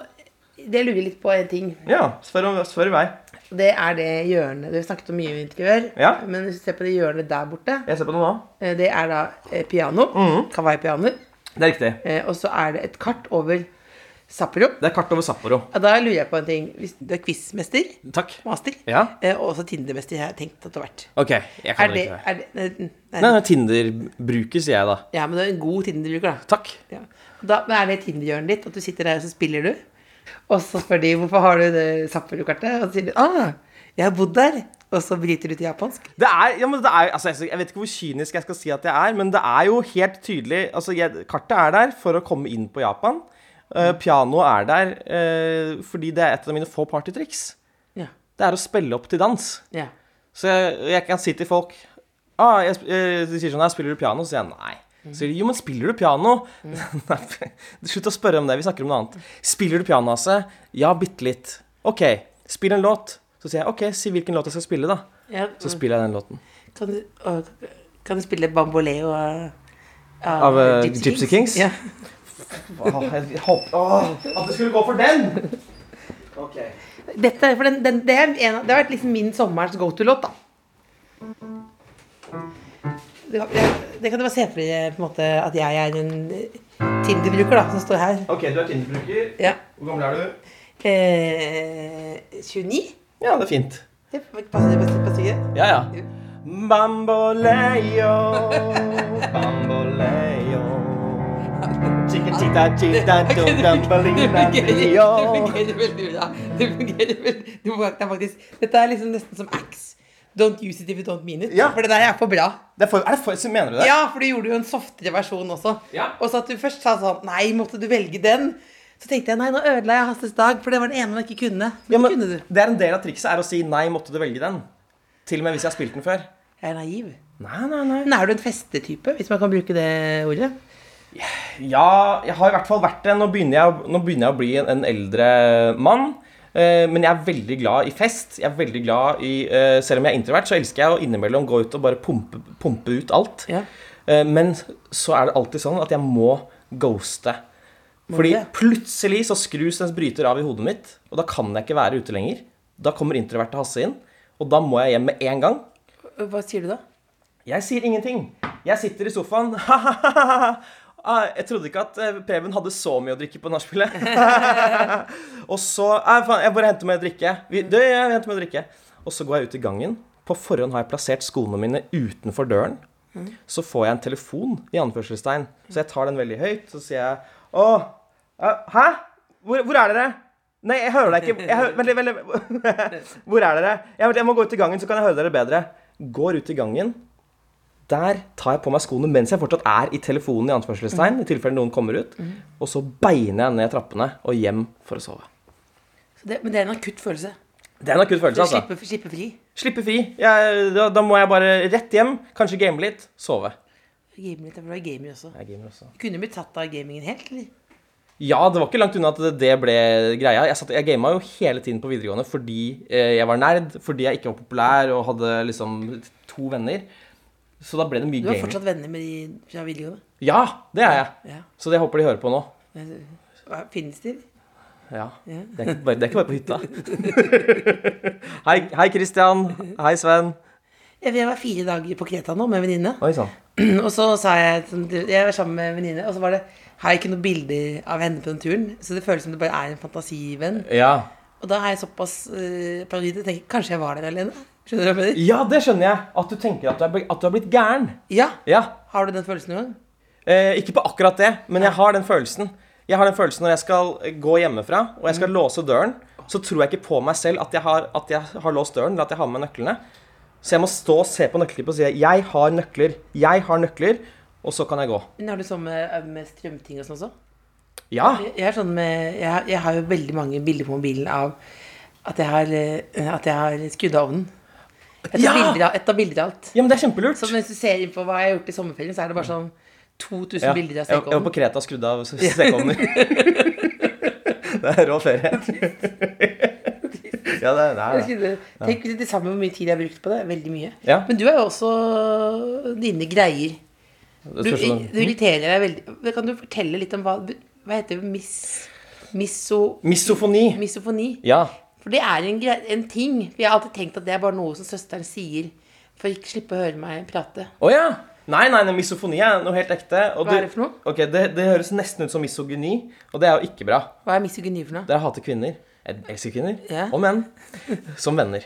det lurer jeg litt på en ting. Ja, spør, om, spør i vei. Det er det hjørnet Du har snakket om mye om interiør, Ja. men hvis du ser på det hjørnet der borte, Jeg ser på det nå. eh, det er da eh, piano. Mhm. Kawaii-piano. Det er riktig. eh, Og så er det et kart over Zappero. Det er kart over Sapporo. Ja, Da lurer jeg på en ting. Hvis du er quizmester, Takk. master, Ja. eh, og også Tinder-mester, jeg har tenkt at du har vært. Ok, jeg Er kan det, ikke det. er det nei, nei, Nei, nei, Tinder-bruker, sier jeg da. Ja, men du er en god Tinder-bruker, da. Takk. Ja. Da men er det Tinder-hjørnet ditt, at du sitter der og så spiller du. Og så spør de hvorfor har du det Zappero-kartet, og så sier de ah, jeg har bodd der. Og så bryter du til japansk. Det er, ja, men det er, altså, jeg- jeg vet ikke hvor kynisk jeg skal si at jeg er, men det er jo helt tydelig altså, jeg, Kartet er der for å komme inn på Japan. Uh, Pianoet er der eh, fordi det er et av mine få partytriks. Ja. Det er å spille opp til dans. Ja. Så jeg, jeg kan si til folk ah, jeg, sp- eh, De sier sånn 'Nei, spiller du piano?' Så sier jeg nei. Så sier de jo, men spiller du piano? Nei, slutt å spørre om det, vi snakker om noe annet. Spiller du piano, Hasse? Ja, bitte litt. Ok, spill en låt. Så sier jeg ok, si hvilken låt jeg skal spille, da. Ja, Så spiller jeg den låten. kan, du, å, kan du spille bamboleo av, Av eh, Gypsy Kings? Ja. Åh, jeg håper åh, At du skulle gå for den! Ok. Dette, for den, den, det, er en, av- det har vært liksom min sommerens go to-låt, da. Det, kan- det- det kan du bare se for deg på en måte, at jeg er en eh, Tinder-bruker da, som står her. Ok, du er Tinder-bruker. Ja. Hvor gammel er du? Eh, 29? Ja, det er fint. Det passer, passer, passer ikke. Ja, ja. Bamboleo, bamboleo. Chicka chita chita dum dum balina bio. fungerer veldig bra. Det fungerer veldig du, må- det er faktisk, Dette er liksom nesten som Axe. Don't use it if you don't mean it. Ja. For det der er for bra. Det er for, er det for, mener du det? Ja, for du gjorde jo en softere versjon også. Ja. Og så at du først sa sånn Nei, måtte du velge den? Så tenkte jeg nei, nå ødela jeg Hasses dag, for det var den ene man ikke kunne. Men Ja, det kunne men, du. det er en del av trikset er å si nei, måtte du velge den. Til og med hvis jeg har spilt den før. Jeg er naiv. Nei, nei, nei. Men er du en festetype, hvis man kan bruke det ordet? Ja, jeg har i hvert fall vært det. Nå begynner jeg, å- nå begynner jeg å bli en, en eldre mann. Eh, men jeg er veldig glad i fest. Jeg er veldig glad i, eh, Selv om jeg er introvert, så elsker jeg å innimellom gå ut og bare pumpe, pumpe ut alt. Ja. Eh, men så er det alltid sånn at jeg må ghoste. Fordi det? plutselig så skrus en bryter av i hodet mitt, og da kan jeg ikke være ute lenger. Da kommer introverte Hasse inn, og da må jeg hjem med en gang. Hva sier du da? Jeg sier ingenting. Jeg sitter i sofaen. Ah, Jeg trodde ikke at eh, Preben hadde så mye å drikke på nachspielet. og så Nei, faen, jeg bare henter meg å drikke. Vi- Du, jeg henter meg å drikke. Og så går jeg ut i gangen. På forhånd har jeg plassert skoene mine utenfor døren. Så får jeg en telefon, i anførselstegn. Så jeg tar den veldig høyt, så sier jeg Å, eh, hæ? Hvor, hvor er dere? Nei, jeg hører deg ikke. Jeg hører, veldig, veldig. Hvor er dere? Jeg, jeg må gå ut i gangen, så kan jeg høre dere bedre. Går ut i gangen. Der tar jeg på meg skoene mens jeg fortsatt er i telefonen, i Mm. anførselstegn, i tilfelle noen kommer ut. Og så beiner jeg ned trappene og hjem for å sove. Det, men det er en akutt følelse. Det er en akutt følelse, altså. Slippe, slippe fri. Slippe fri. Jeg, da, da må jeg bare rett hjem, kanskje game litt, sove. Game litt, for du er gamer også. Jeg gamer også. Du kunne blitt tatt av gamingen helt, eller? Ja, det var ikke langt unna at det ble greia. Jeg, satt, jeg gama jo hele tiden på videregående fordi eh, jeg var nerd, fordi jeg ikke var populær og hadde liksom to venner. Så da ble det mye Du er gaming. fortsatt venner med de fra videregående? Ja, det er jeg. Ja. Så det håper de hører på nå. Hva- Finnes de? Ja. Det, er ikke bare, det er ikke bare på hytta. hei, hei Christian. Hei, Sven. Jeg jeg var fire dager på Kreta nå med en venninne. Oi sann. Og så sa jeg sånn, du- Jeg var sammen med en venninne, og så var det Har jeg ikke noen bilder av henne på den turen? Så det føles som det bare er en fantasivenn. Ja. Og da er jeg såpass uh, paranoid at jeg tenker kanskje jeg var der alene. Skjønner du hva jeg mener? ja, det skjønner jeg. At du tenker at du er, bli- at du har blitt gæren. Ja. Ja. Har du den følelsen noen gang? Eh, ikke på akkurat det, men jeg har den følelsen. Jeg har den følelsen når jeg skal eh, gå hjemmefra og jeg skal låse døren, så tror jeg ikke på meg selv at jeg har, at jeg har låst døren, eller at jeg har med nøklene. Så jeg må stå og se på nøkkelklippet og si 'jeg har nøkler', 'jeg har nøkler', og så kan jeg gå. Men har du sånn med, med strømting og sånn også? Ja. Jeg, er sånn med, jeg, har- jeg har jo veldig mange bilder på mobilen av at jeg har, eh, at jeg har skrudd av ovnen. Jeg tar Ja! bilder av- jeg tar bilder av alt. ja, men det er kjempelurt. Så hvis du ser inn på hva jeg har gjort i sommerferien, så er det bare sånn 2000 Ja, bilder av jeg- Jeg var stekeovnen. på Kreta og skrudde av stekeovner. det er rå ferie. ja, det er det. Er, det. Skulle- Tenk hvis det samme hvor mye tid jeg har brukt på det. Veldig mye. Ja. Men du er jo også dine greier. Du, Det spørs om- du irriterer deg veldig. Kan du fortelle litt om hva Hva heter det? Mis, miso, Misofoni. misofoni? Ja. For det er en, grei- en ting. For jeg har alltid tenkt at det er bare noe som søsteren sier for ikke slippe å høre meg prate. Å ja. Nei, nei, nei, misofoni er noe helt ekte. og Hva er det for noe? Ok, det, det høres nesten ut som misogyni, og det er jo ikke bra. Hva er misogyni for noe? Dere hater kvinner. Jeg elsker kvinner. Ja. Og menn. Som venner.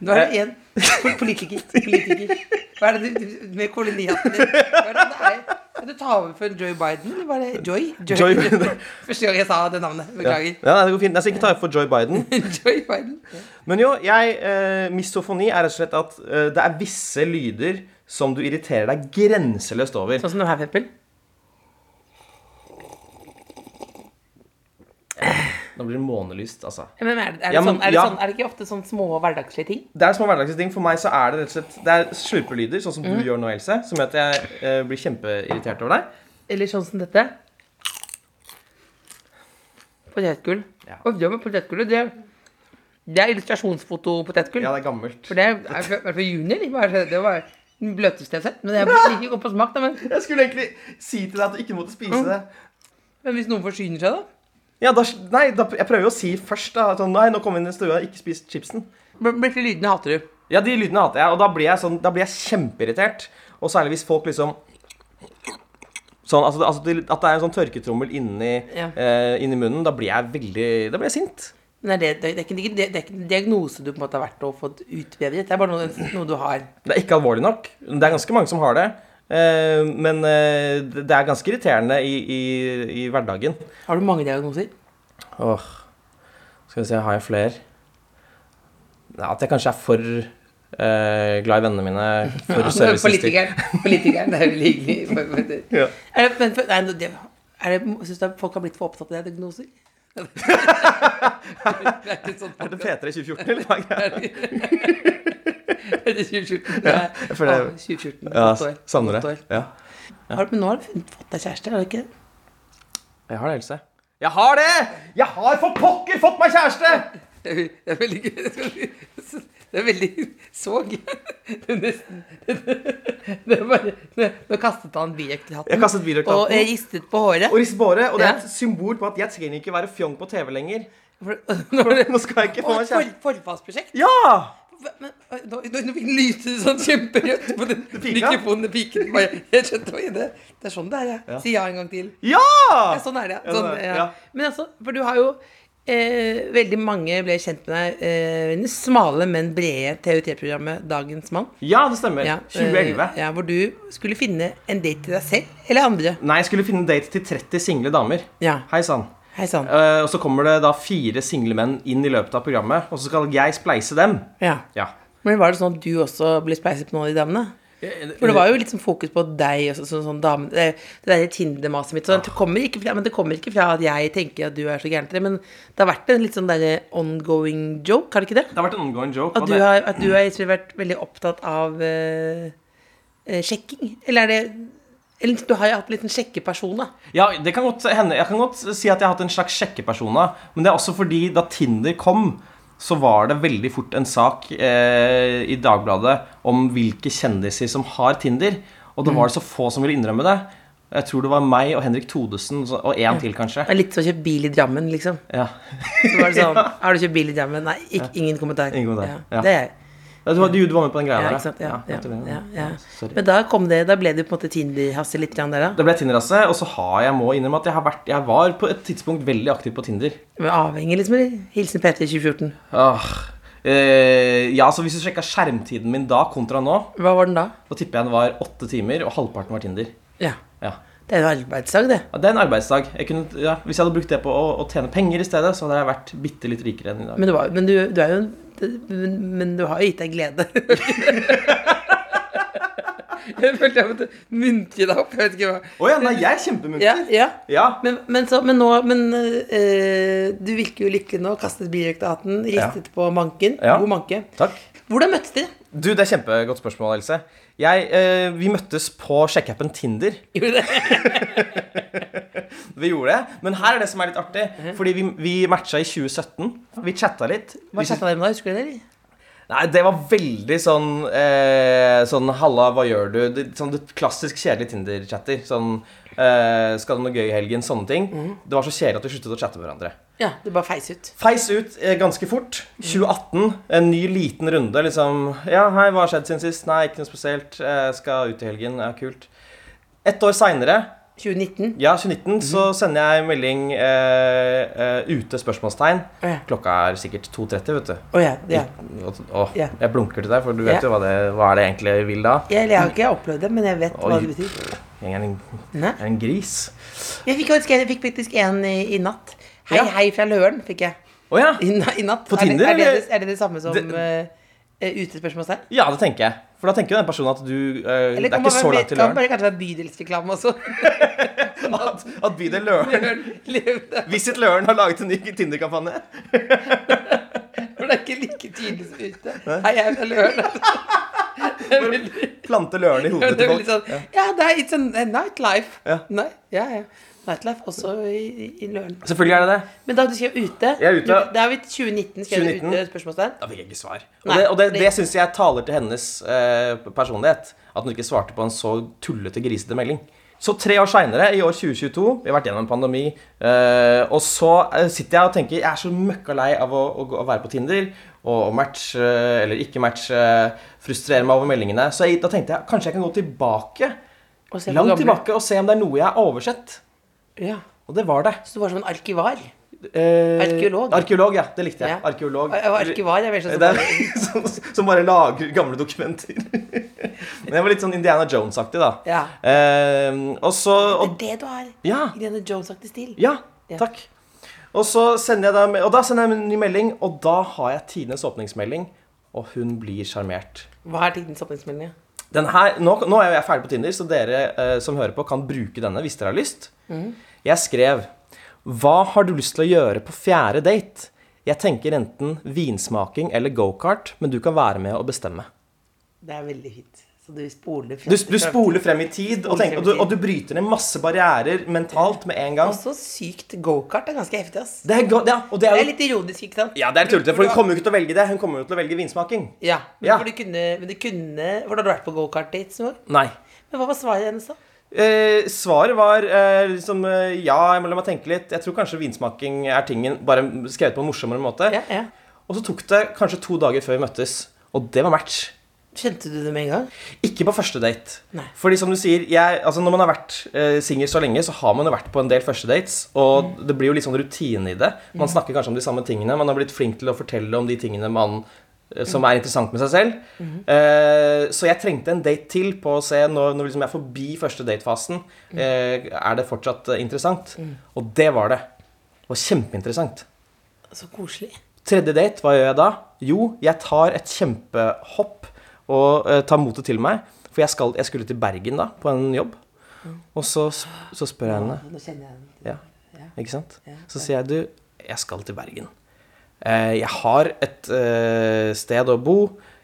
Nå er det Eh. en pol- politiker. politiker. Hva er det du du- med kolonihatten din? Hva er det det er? Kan du ta over for Joy Biden? Eller var det Joy? Joy. Første gang jeg sa det navnet. Ja. Beklager. ja, nei, det går fint. Jeg skal ikke ta for Joy Biden. Joy Biden. Men jo, jeg, eh, misofoni er rett og slett at eh, det er visse lyder som du irriterer deg grenseløst over. Sånn som nå her, for eksempel. Nå blir det månelyst, altså. Men er det, er det, Ja, men- sånn, er det, ja. sånn, er det ikke ofte sånn små hverdagslige ting? Det er små hverdagslige ting. For meg så er det rett og slett Det er slurpelyder, sånn som du gjør nå, Else, som gjør at jeg eh, blir kjempeirritert over deg. Eller sånn som dette? Potetgull. Ja. Og det med potetgullet, det, det er illustrasjonsfoto-potetgull. Ja, det er gammelt. For det er er fra- i hvert fall junior. Det var, det var den bløteste jeg har sett. Men det er ikke godt på smak, da. Men, Jeg skulle egentlig si til deg at du ikke måtte spise det. men hvis noen forsyner seg, da? Mm. Ja, da, nei, da, jeg prøver jo å si først da, sånn, nei, nå kom vi inn i stua, ikke spis chipsen. Bl- Blir til lydene hater du. Ja, de lydene hater jeg, og da blir jeg, sånn, da blir jeg kjempeirritert. Og særlig hvis folk liksom Sånn, altså, altså, til- At det er en sånn tørketrommel inni, Ja. eh, inni munnen. Da blir jeg veldig Da blir jeg sint. Men er det, det, er ikke, det, er ikke en diagnose du på en måte har vært og fått utbedret. Det er bare noe, noe du har. Det er ikke alvorlig nok. Det er ganske mange som har det. Eh, men eh, det det er ganske irriterende i, i, i hverdagen. Har du mange diagnoser? Åh, skal vi se, har jeg flere? Nei, at jeg kanskje er for eh, glad i vennene mine, for serviceinstinkt. Politikeren. Politikeren. Det er veldig hyggelig. Ja. Er det, men, for- nei, det- er det, synes du at folk har blitt for opptatt av diagnoser? det er ikke sånn Er det P3 i 2014, eller? Det er 2014. Det er, jeg føler det- Å, 2014. Ja, åtte år. savner Åtte det. år. Ja. Har, men nå har du funnet- fått deg kjæreste, har du ikke det? Jeg har det, Else. Jeg har det! Jeg har for pokker fått meg kjæreste! Det er, det er veldig gøy. Det er veldig så gøy. Det er nesten det er bare, Nå kastet han biøktehatten. Jeg kastet biøktehatten. Og eh, ristet på håret. Og rist på håret, og det er Ja. et symbol på at jeg trenger ikke være fjong på TV lenger. Nå Nå skal jeg ikke få meg for, kjæreste. Forfallsprosjekt? Ja! Men, oi, nå, nå, nå fikk den lyse sånn kjemperødt på den pika? mikrofonen. Det piket. Bare, jeg skjønte hva det Det er sånn det er, ja. Ja. Si ja en gang til. Ja! Ja, sånn er det. Ja, Sånn, sånn er det, ja. ja. Men altså, for du har jo eh, Veldig mange ble kjent med deg eh, i det smale, men brede TUT-programmet Dagens mann. Ja, det stemmer. Ja, eh, 2011. Ja, hvor du skulle finne en date til deg selv eller andre. Nei, jeg skulle finne en date til 30 single damer. Ja. Hei sann. Hei sann. Eh, og så kommer det da fire single menn inn i løpet av programmet, og så skal jeg spleise dem. Ja. Ja. Men var det sånn at du også ble spleiset på noen av de damene? For det var jo litt sånn fokus på deg og så, sånn, sånn dame, det, det der Tinder-maset mitt. Så det, kommer ikke fra, men det kommer ikke fra at jeg tenker at du er så gæren til det, men det har vært en litt sånn derre ongoing joke, har det ikke det? Det har vært en ongoing joke. At og du, det- har, at du har egentlig vært veldig opptatt av eh, eh, sjekking? Eller er det Eller du har jo hatt en liten sjekkeperson, da. Ja, det kan godt hende. Jeg kan godt si at jeg har hatt en slags sjekkepersona, men det er også fordi da Tinder kom, så var det veldig fort en sak eh, i Dagbladet om hvilke kjendiser som har Tinder, og da var Mm. det så få som ville innrømme det. Jeg tror det var meg og Henrik Thodesen, så- og én til Det kanskje. er Litt som å kjøpe bil i Drammen, liksom. Ja. Så var det sånn, Har du kjøpt bil i Drammen? Nei, ikk, ingen kommentar. Ingen kommentar, Ja, ja. Det er jeg. Du, var- du var med på den greia Ja, der, ikke sant? Ja, ja, ja, ja. Sorry. Men da kom det, da ble det på en måte Tinder-hasse litt grann der, da. Det ble Tinder-rasse, og så har jeg må innrømme at jeg, har vært, jeg var på et tidspunkt veldig aktiv på Tinder. Men avhengig, liksom? Eller? Hilsen Peter 2014. Åh, eh, ja, så Hvis du sjekka skjermtiden min da kontra nå, Hva var den da? da tipper jeg den var åtte timer, og halvparten var Tinder. Ja. Ja. Det er jo arbeidsdag, det. Ja, Det er en arbeidsdag. Jeg kunne, ja, hvis jeg hadde brukt det på å, å tjene penger i stedet, så hadde jeg vært bitte litt rikere enn i dag. Men du, var, men du, du er jo en men, men du har jo gitt deg glede. jeg følte jeg måtte muntre deg opp. Jeg vet ikke hva. Å ja, nei, jeg er kjempemunter. Ja, ja. Ja. Men, men, så, men nå Men eh, du virker jo lykkelig nå. Kastet biøktehatten, ristet på manken. Ja. God manke. Takk. Hvordan møttes dere? Du, Det er kjempegodt spørsmål, Else. Jeg, eh, vi møttes på sjekkeappen Tinder. Gjorde dere det? Vi gjorde det, men her er det som er litt artig. Fordi vi, vi matcha i 2017. Vi chatta litt. Hva Vi- chatta dere med da? Husker du det? eller? Nei, det var veldig sånn eh, Sånn halla, hva gjør du? Det, sånn det klassisk kjedelige Tinder-chatter. Sånn eh, Skal du noe gøy i helgen? Sånne ting. Det var så kjedelig at vi sluttet å chatte med hverandre. Ja, det bare feis ut. Feis ut eh, ganske fort. 2018, en ny liten runde. Liksom Ja, hei, hva har skjedd siden sist? Nei, ikke noe spesielt. Eh, skal ut i helgen. Ja, kult. Ett år seinere, 2019. ja, 2019, så sender jeg melding eh, eh, ute spørsmålstegn. Ja. Klokka er sikkert 2.30, vet du. Å ja. ja. Åh, Ja. Jeg blunker til deg, for du vet Ja. jo hva det, hva er det egentlig jeg vil da. Jeg, eller jeg har ikke opplevd det, men jeg vet hva Oi. det betyr. Jeg er en, Nei. jeg er en gris. Jeg fikk, faktisk- jeg fikk faktisk en i, i natt. Hei, Ja. hei fra Løren, fikk jeg. Å ja. I, na- i natt. På Er det- Tinder, Er det, er eller? det, det samme som Det- uh, utespørsmålstegn? ja, det tenker jeg. For da tenker jo den personen at du eh, Det er Eller kan ikke man så være- langt til kan man løren. bare kanskje være bydelsreklame også? at, at bydel Løren Levende. Visit Løren har laget en ny Tinder-kampanje. For det er ikke like tydelig som ute. Hei, jeg er Løren. Det er veldig- Plante Løren i hodet det til er veldig folk. sånn Ja, det er it's a nightlife. Ja. Nei, ja, ja. Nightlife også i, i- i Løren. Selvfølgelig er det det. Men da du skrev ute Jeg er ute. du- Det er jo 2019 skrev du 2019. ute spørsmålstegn. Da fikk jeg ikke svar. Og Nei, det, og det, fordi- det syns jeg taler til hennes eh, personlighet. At hun ikke svarte på en så tullete, grisete melding. Så tre år seinere, i år 2022, vi har vært gjennom en pandemi, eh, og så eh, sitter jeg og tenker Jeg er så møkka lei av å, å, gå- å være på Tinder og, og matche eh, eller ikke matche. eh, Frustrere meg over meldingene. Så jeg, da tenkte jeg kanskje jeg kan gå tilbake Og se hvor langt gammel- tilbake og se om det er noe jeg har oversett. Ja. Og det var det. Så du var som en arkivar? Eh, Arkeolog. Arkeolog, ja. Det likte jeg. Ja. Arkeolog. Og arkivar er mer sånn Det som er, bare- som, som bare lager gamle dokumenter. Men jeg var litt sånn Indiana Jones-aktig, da. Ja. Eh, og så og, Det er det du har. ja, Irene Jones-aktig stil. ja, Ja. takk. Og så sender jeg da, og da sender jeg en ny melding, og da har jeg tidenes åpningsmelding, og hun blir sjarmert. Hva er tidens åpningsmelding? Den her, nå, nå er jeg ferdig på Tinder, så dere eh, som hører på, kan bruke denne hvis dere har lyst. Mm. Jeg skrev Hva har du lyst til å gjøre på fjerde date? Jeg tenker enten vinsmaking eller gokart, men du kan være med og bestemme. Det er veldig fint. Så du spoler Du, du spoler frem i tid, og, frem tenker, i og, du, tid. og du bryter ned masse barrierer mentalt med en gang. Også sykt gokart er ganske heftig, ass. Det er, go- ja, og det Det er er jo litt ironisk, ikke sant? ja, det er tullete, for hun kommer jo ikke til å velge det. Hun kommer jo til å velge vinsmaking. Ja, men, Ja. For du kunne, men du kunne For da hadde du vært på gokart-dates noen gang? Nei. Men hva var svaret hennes, da? Eh, svaret var eh, liksom eh, Ja, jeg må la meg tenke litt. Jeg tror kanskje vinsmaking er tingen, bare skrevet på en morsommere måte. Ja, ja. Og så tok det kanskje to dager før vi møttes, og det var match. Kjente du det med en gang? Ikke på første date. Nei. Fordi som du sier, jeg, altså når man har vært eh, singel så lenge, så har man jo vært på en del første dates, og det blir jo litt sånn rutine i det. Man snakker kanskje om de samme tingene, man har blitt flink til å fortelle om de tingene man eh, som er interessant med seg selv. Eh, så jeg trengte en date til på å se når, når liksom jeg er forbi første datefasen. Eh, er det fortsatt eh, interessant? Og det var det. Det var kjempeinteressant. Så koselig. Tredje date, hva gjør jeg da? Jo, jeg tar et kjempehopp og eh, tar motet til meg. For jeg, skal, jeg skulle til Bergen da, på en jobb. Og så, s- så spør jeg henne. Mm. Nå kjenner jeg den. Ja, ikke sant? Så sier jeg, du, jeg skal til Bergen. Eh, jeg har et eh, sted å bo.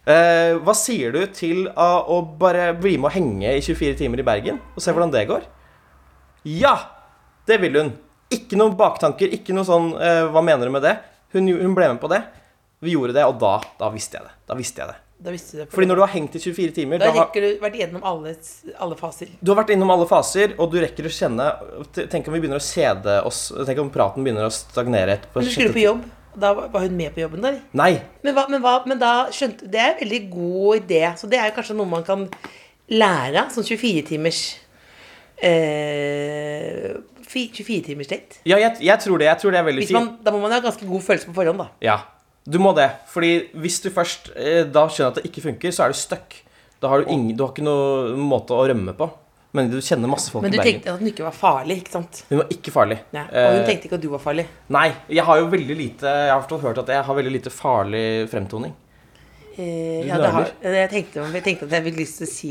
Eh, hva sier du til ah, å bare bli med og henge i 24 timer i Bergen? Og se hvordan det går? Ja! Det vil hun. Ikke noen baktanker, ikke noe sånn eh, Hva mener du med det? Hun, gjo- hun ble med på det. Vi gjorde det, og da, da visste jeg det. Da visste jeg det. Da visste du det. Fordi når du har hengt i 24 timer da da har- rekker du vært igjennom alle, alle faser. du har vært innom alle faser, og du rekker å kjenne Tenk om vi begynner å kjede oss Tenk om praten begynner å stagnere etterpå. Men du skulle på jobb. og Da var var hun med på jobben der. Nei. Men, hva, men, hva, men da skjønte Det er en veldig god idé. Så det er jo kanskje noe man kan lære av. Sånn 24-timers eh, fi- 24-timers date. Ja, jeg, jeg tror det. Jeg tror det er veldig Hvis fint. man, da må man ha ganske god følelse på forhånd, da. Ja, du må det. Fordi hvis du først eh, da skjønner at det ikke funker, så er du stuck. Da har du, ingen, du har ikke noen måte å rømme på. Men du kjenner masse folk Men du i Bergen. tenkte at hun ikke var farlig, ikke sant? Hun var ikke farlig. Ja. Og hun Eh, tenkte ikke at du var farlig. Nei. Jeg har jo veldig lite Jeg har i hvert fall hørt at jeg har veldig lite farlig fremtoning. Eh, du ja, det har, nøler. jeg, tenkte, jeg tenkte at jeg fikk lyst til å si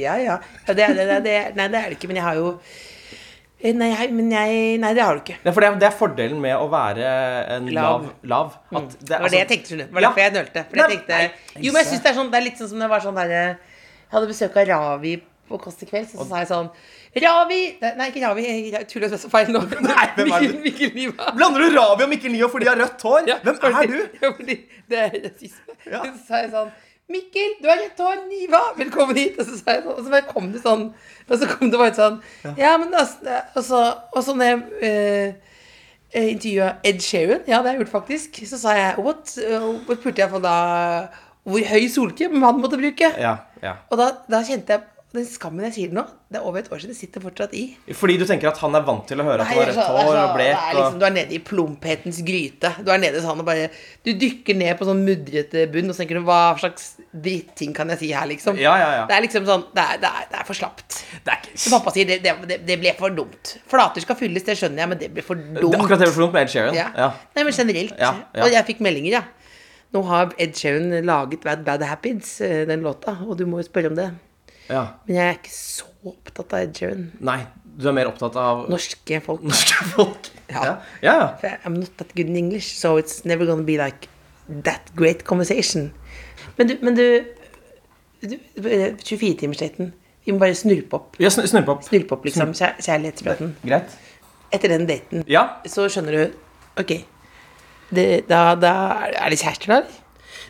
ja, ja. ja det, er- det, er- det, er- nei, det er det ikke, men jeg har jo eh, Nei, jeg, men jeg, nei det har du ikke. Ja, for det er, det er fordelen med å være en lav. Lav. Mm. lav, at Det var altså- det jeg tenkte, skjønner du. Det var Ja. derfor jeg nølte. For jeg Nei, tenkte, nei, jo, men jeg synes det er sånn Det er litt sånn som det var sånn derre Jeg hadde besøk av Ravi på Kåss til kvelds, og så sa jeg sånn Ravi Nei, nei, ikke Ravi. Jeg tuller og spør feil nå. Nei, hvem er det? Mikkel- Mikkel Niva. Blander du Ravi og Mikkel Nio fordi de har rødt hår? Hvem er du? Ja, fordi det er rasisme. Ja. Så sa jeg sånn Mikkel, du har rett hår, Niva, velkommen hit. Og så, sa jeg sånn, og så bare kom det sånn. Og så kom det bare et sånn Ja, men altså det- Og så, og så når jeg eh, eh, intervjua Ed Sheeran, ja, det har jeg gjort faktisk, så sa jeg what? Og så spurte jeg for da hvor høy solkrem han måtte bruke. Ja, ja. Og da, da kjente jeg den skammen jeg sier det nå, det er over et år siden, det sitter fortsatt i. Fordi du tenker at han er vant til å høre at Nei, han har det er rødt sånn- hår det er og sånn- blek det er liksom, og Du er nede i plumphetens gryte. Du er nede sånn og bare Du dykker ned på sånn mudrete bunn, og så tenker du hva slags dritting kan jeg si her, liksom. Ja, ja, ja. Det er liksom sånn Det er, det er, det er for slapt. Det er ikke Som pappa sier, det, det, det ble for dumt. Flater skal fylles, det skjønner jeg, men det ble for dumt. Det er akkurat det vi får vondt med Ed Sheeran. Ja. Ja. Nei, men generelt. Ja, ja. Og jeg fikk meldinger, ja. Nå har Ed Sheeran laget Bad Bad Happens, eh, den låta, og du må jo spørre om det. Ja. Men jeg er ikke så opptatt av Ed Sheeran. Nei, Du er mer opptatt av Norske folk. norske folk? Ja. Ja. ja. For I'm not that good in English, so it's never gonna be like that great conversation. Men du, men du, du 24-timersdaten. Vi må bare snurpe opp. ja snu- Snurpe opp. Snurpe opp, liksom. Kjær, kjærlighetspraten. Greit. Etter den daten, Ja. så skjønner du Ok. Det, da, da Er det kjærester, da? eller?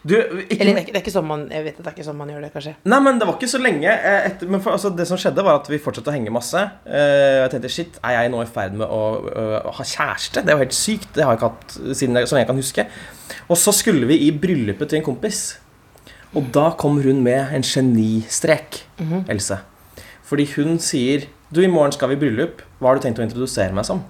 Du, Eller det ikke er, ikke- det er ikke sånn man Jeg vet at det er ikke sånn man gjør det, kanskje. Nei, men det var ikke så lenge eh, etter, men for, altså, Det som skjedde var at vi fortsatte å henge masse eh, Jeg tenkte, shit, er jeg nå i ferd med å, eh, ha kjæreste? Det er jo helt sykt, det har jeg ikke hatt siden jeg, som jeg kan huske Og så skulle vi i bryllupet til en kompis Og da kom hun med en genistrek, Mhm. Else Fordi hun sier, du i morgen skal vi i bryllup Hva har du tenkt å introdusere meg som?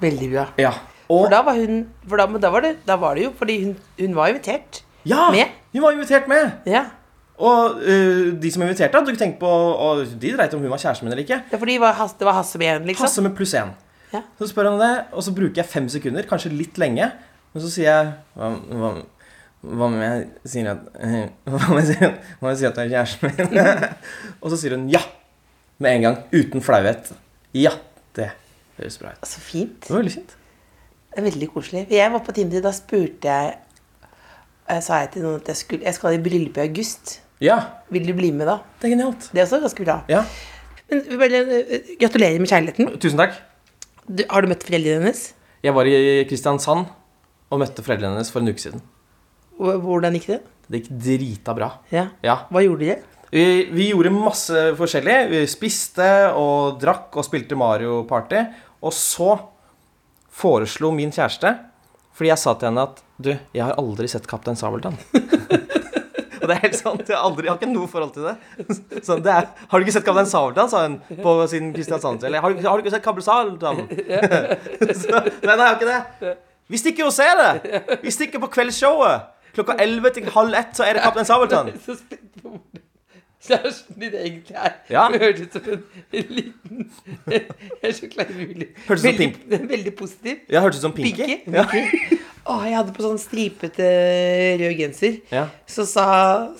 Veldig bra. Ja, For og, da var hun For da, men da, var, det, da var det jo Fordi hun, hun var invitert. ja med? hun var invitert med Ja. Og eh, de som inviterte, hadde du ikke tenkt på og De dreit om hun var kjæresten min eller ikke Det er fordi det var Hasse- det var Hasse med igjen, liksom. Passe med pluss én. Ja. Så spør han om det, og så bruker jeg fem sekunder, kanskje litt lenge. Men så sier jeg Hva, hva, hva om jeg sier at Hva om jeg sier at, hva om jeg sier at det er kjæresten min? og så sier hun ja med en gang, uten flauhet. Ja, det høres bra ut. Så fint. Det var veldig fint. Det er veldig koselig. For jeg var på Tinder, da spurte jeg eh, Sa jeg til noen at jeg, skulle, jeg skal i bryllup i august. Ja, Vil du bli med da? det er genialt. Det er også ganske bra. Ja. Men vi bare, eh, gratulerer med kjærligheten. Tusen takk. Du, har du møtt foreldrene hennes? Jeg var i Kristiansand og møtte foreldrene hennes for en uke siden. Hv- Hvordan gikk det? Det gikk drita bra. Ja. Ja. Hva gjorde dere? Vi, vi gjorde masse forskjellig. Vi spiste og drakk og spilte Mario Party. Og så foreslo min kjæreste Fordi jeg sa til henne at Du, jeg har aldri sett Kaptein Sabeltann. og det er helt sant. Jeg har, aldri, jeg har ikke noe forhold til det. Så det er, har du ikke sett Kaptein Sabeltann, sa hun på sin Kristiansand. Eller har du, har du ikke sett Kaptein Sabeltann? så, nei, nei, jeg har ikke det. Vi stikker og ser det. Vi stikker på kveldsshowet. Klokka 11 til halv ett så er det Kaptein Sabeltann. Så spent på hvordan kjæresten din egentlig er. Ja. Det hørtes ut som en, en liten Jeg er så kleinmulig. Hørtes ut som veldig, veldig positiv. Jeg hørtes ut som Pinky. Pinky? Ja. Å, jeg hadde på sånn stripete rød genser. Ja. Så sa,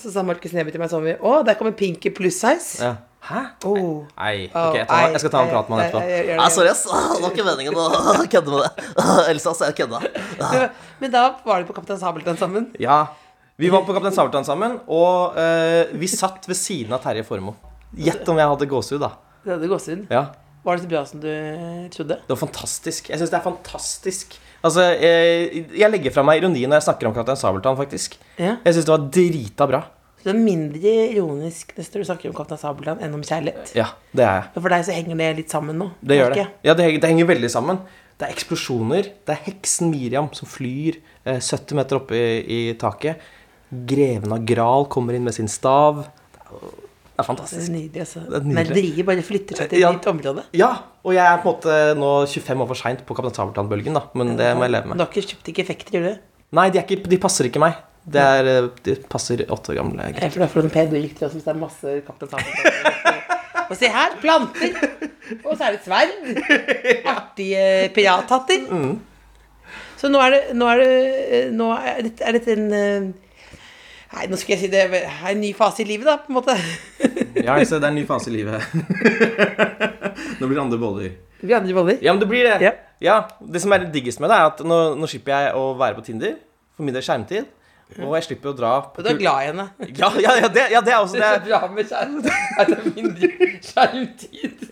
så sa Markus Neby til meg sånn Å, der kommer Pinky pluss size. Ja. Hæ? Oh. Nei, Ah, ok, jeg, tar, jeg skal ta en prat med han etterpå. etterpå. Nei, sorry, ass. Det var ikke meningen å kødde med det. Ellers hadde jeg kødda. Men da var det på Kaptein Sabeltann sammen. Ja. Vi var på Kaptein Sabeltann sammen, og eh, vi satt ved siden av Terje Formoe. Gjett om jeg hadde gåsehud, da. Det hadde gåsehud. Ja. Var det så bra som du trodde? Det var fantastisk. Jeg syns det er fantastisk. Altså, jeg, jeg legger fra meg ironi når jeg snakker om Kaptein Sabeltann, faktisk. Ja. Jeg syns det var drita bra. Så det er mindre ironisk nesten når du snakker om Kaptein Sabeltann enn om kjærlighet. Ja, det er jeg. Men for deg så henger det litt sammen nå. Det gjør det. merker jeg. Ja, det, henger- det henger veldig sammen. Det er eksplosjoner. Det er heksen Miriam som flyr eh, 70 meter oppe i, i taket. Greven av Gral kommer inn med sin stav. Det er, jo- det er Det er fantastisk. nydelig, altså. Det er nydelig. Nerderiet bare flytter seg til Ja. et nytt område. Ja, og jeg er på en måte nå 25 år for seint på Kaptein Sabeltann-bølgen, da. Men det må jeg leve Men du med. har ikke kjøpt ikke effekter, gjør du? Nei, de, er ikke, de passer ikke meg. Det er, eh, de passer åtte år gamle gutter. Eh, For da får du noen pedo-rykter også hvis det er masse Kaptein Sabeltann. Og se her, planter! Og så er det et sverd. Artige eh, pirathatter. Så nå er det Nå er det, eh, nå er det, er dette en eh, Nei, nå skulle jeg si det er en ny fase i livet, da, på en måte. Ja, altså, det er en ny fase i livet. nå blir det andre boller. Vi andre boller. Ja, men det blir det. Ja. Ja. Det som er det diggest med det, er at nå, nå slipper jeg å være på Tinder. For min del skjermtid. Og jeg slipper å dra på Og du er kul- glad i henne. Ja, ja, ja, det, ja, det er også Det er så det. bra med skjerm- at det er mindre skjermtid.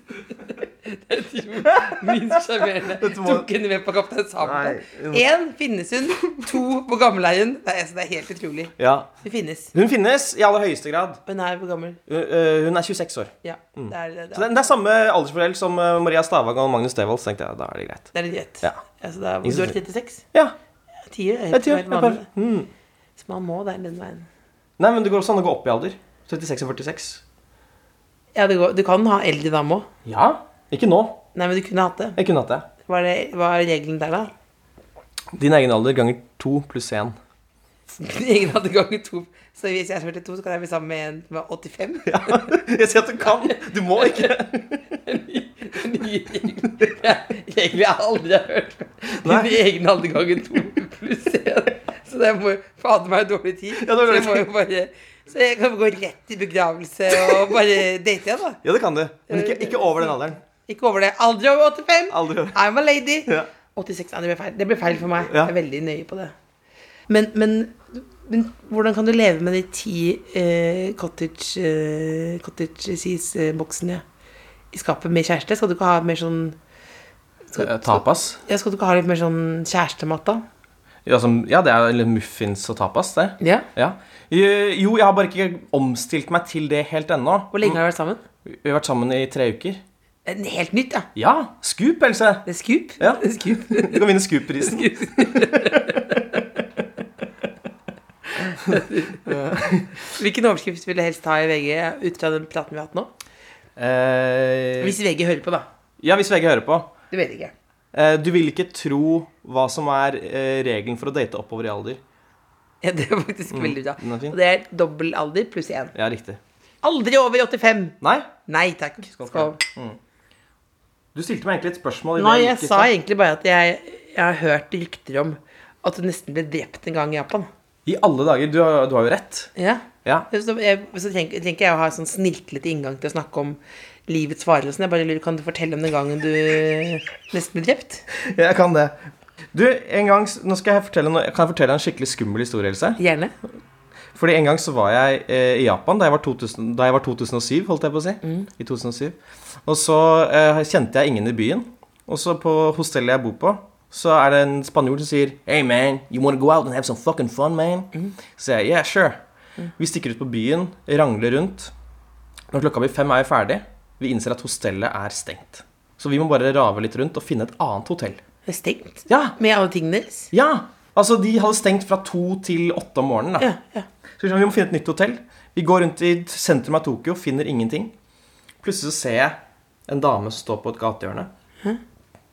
Det er det minst sjarmerende. Tok henne med på Kaptein Sabeltann. Én finnes hun, to på gamleien. Det, er- altså, det er helt utrolig. Ja. Hun finnes. Hun finnes i aller høyeste grad. Hun er hvor gammel? Hun- øh, Hun er 26 år. Ja. Det er, det, Mm. Så det, er, det er samme aldersfordel som øh, Maria Stavang og Magnus Devold. Så tenkte jeg, da er det greit. det er litt greit. Ja. Altså, det er, Ingen du er som- 36? Ja, Tier er jeg helt tror helt jeg bare, vanlig. mm. Så man må der den veien. Nei, men det går også an å gå opp i alder. 36 og 46. Ja, det går, du kan ha eldre dame òg. Ja. Ikke nå. Nei, men du kunne hatt det. Jeg kunne hatt det. Hva er, det, hva er regelen der, da? Din egen alder ganger to pluss én. Ingen hadde ganger to. Så hvis jeg er 42, så kan jeg bli sammen med en som er 85? Jeg sier at du kan. Du må ikke. Nye regler. Jeg egentlig aldri har hørt Din egen alder ganger to pluss én. Så det må jo fader meg dårlig tid. Ja, det var dårlig så jeg må jo bare Så jeg kan gå rett i begravelse og bare date igjen, da. Ja, det kan du. Men ikke, ikke over den alderen. Ikke over det. Aldri over 85. Aldri over. I'm a lady. Ja. 86, nei, det ble feil. Det ble feil for meg. Ja. Jeg er veldig nøye på det. Men, men, men hvordan kan du leve med de ti eh, cottage, eh, cottage cheese-boksene i skapet med kjæreste? Skal du ikke ha mer sånn Eh, Tapas. ja, Skal du ikke ha litt mer sånn kjærestemat, da? Ja, som, ja, det er jo litt muffins og tapas, det. Ja. Ja. Eh, Jo, jeg har bare ikke omstilt meg til det helt ennå. Hvor lenge har dere vært sammen? Vi har vært sammen i tre uker. En Eh, helt nytt, ja. Ja! Scoop, Else! Det er scoop. Ja. Det er scoop. Du kan vinne Scoop-prisen. Hvilken overskrift vil du helst ha i VG ut fra den praten vi har hatt nå? Eh, Hvis VG hører på, da. ja, hvis VG hører på. Du vet ikke. Eh, du vil ikke tro hva som er eh, regelen for å date oppover i alder. Ja, det er faktisk veldig bra. den er fin. Og det er dobbel alder pluss én. Ja, riktig. Aldri over 85. Nei, Nei takk. Skål. du stilte meg egentlig et spørsmål. i Nei, det jeg gikk i sa stad. egentlig bare at jeg, jeg har hørt rykter om at du nesten ble drept en gang i Japan. I alle dager. Du har, du har jo rett. Ja. Ja. Så, jeg, så tenker, tenker jeg å ha en sånn snirklete inngang til å snakke om livets farer og sånn. Jeg bare lurer, kan du fortelle om den gangen du nesten ble drept? Jeg kan det. Du, en gang, s- nå skal jeg fortelle, noe- Kan jeg fortelle en skikkelig skummel historie? Else? Gjerne. Fordi en gang så var jeg eh, i Japan da jeg, var 2000, da jeg var 2007, holdt jeg på å si. I 2007. Og så eh, kjente jeg ingen i byen. Og så på hostellet jeg bor på, så er det en spanjol som sier Hey man, you wanna go out and have some fucking fun, man? Så sier jeg yeah, sure. Vi stikker ut på byen, rangler rundt. Når klokka blir fem, er vi ferdig. Vi innser at hostellet er stengt. Så vi må bare rave litt rundt og finne et annet hotell. Det er stengt. Ja, Med alle tingene deres. ja! Altså, de hadde stengt fra to til åtte om morgenen, da. Ja, ja. Så vi skjønner, vi må finne et nytt hotell. Vi går rundt i sentrum av Tokyo, finner ingenting. Plutselig så ser jeg en dame stå på et gatehjørne.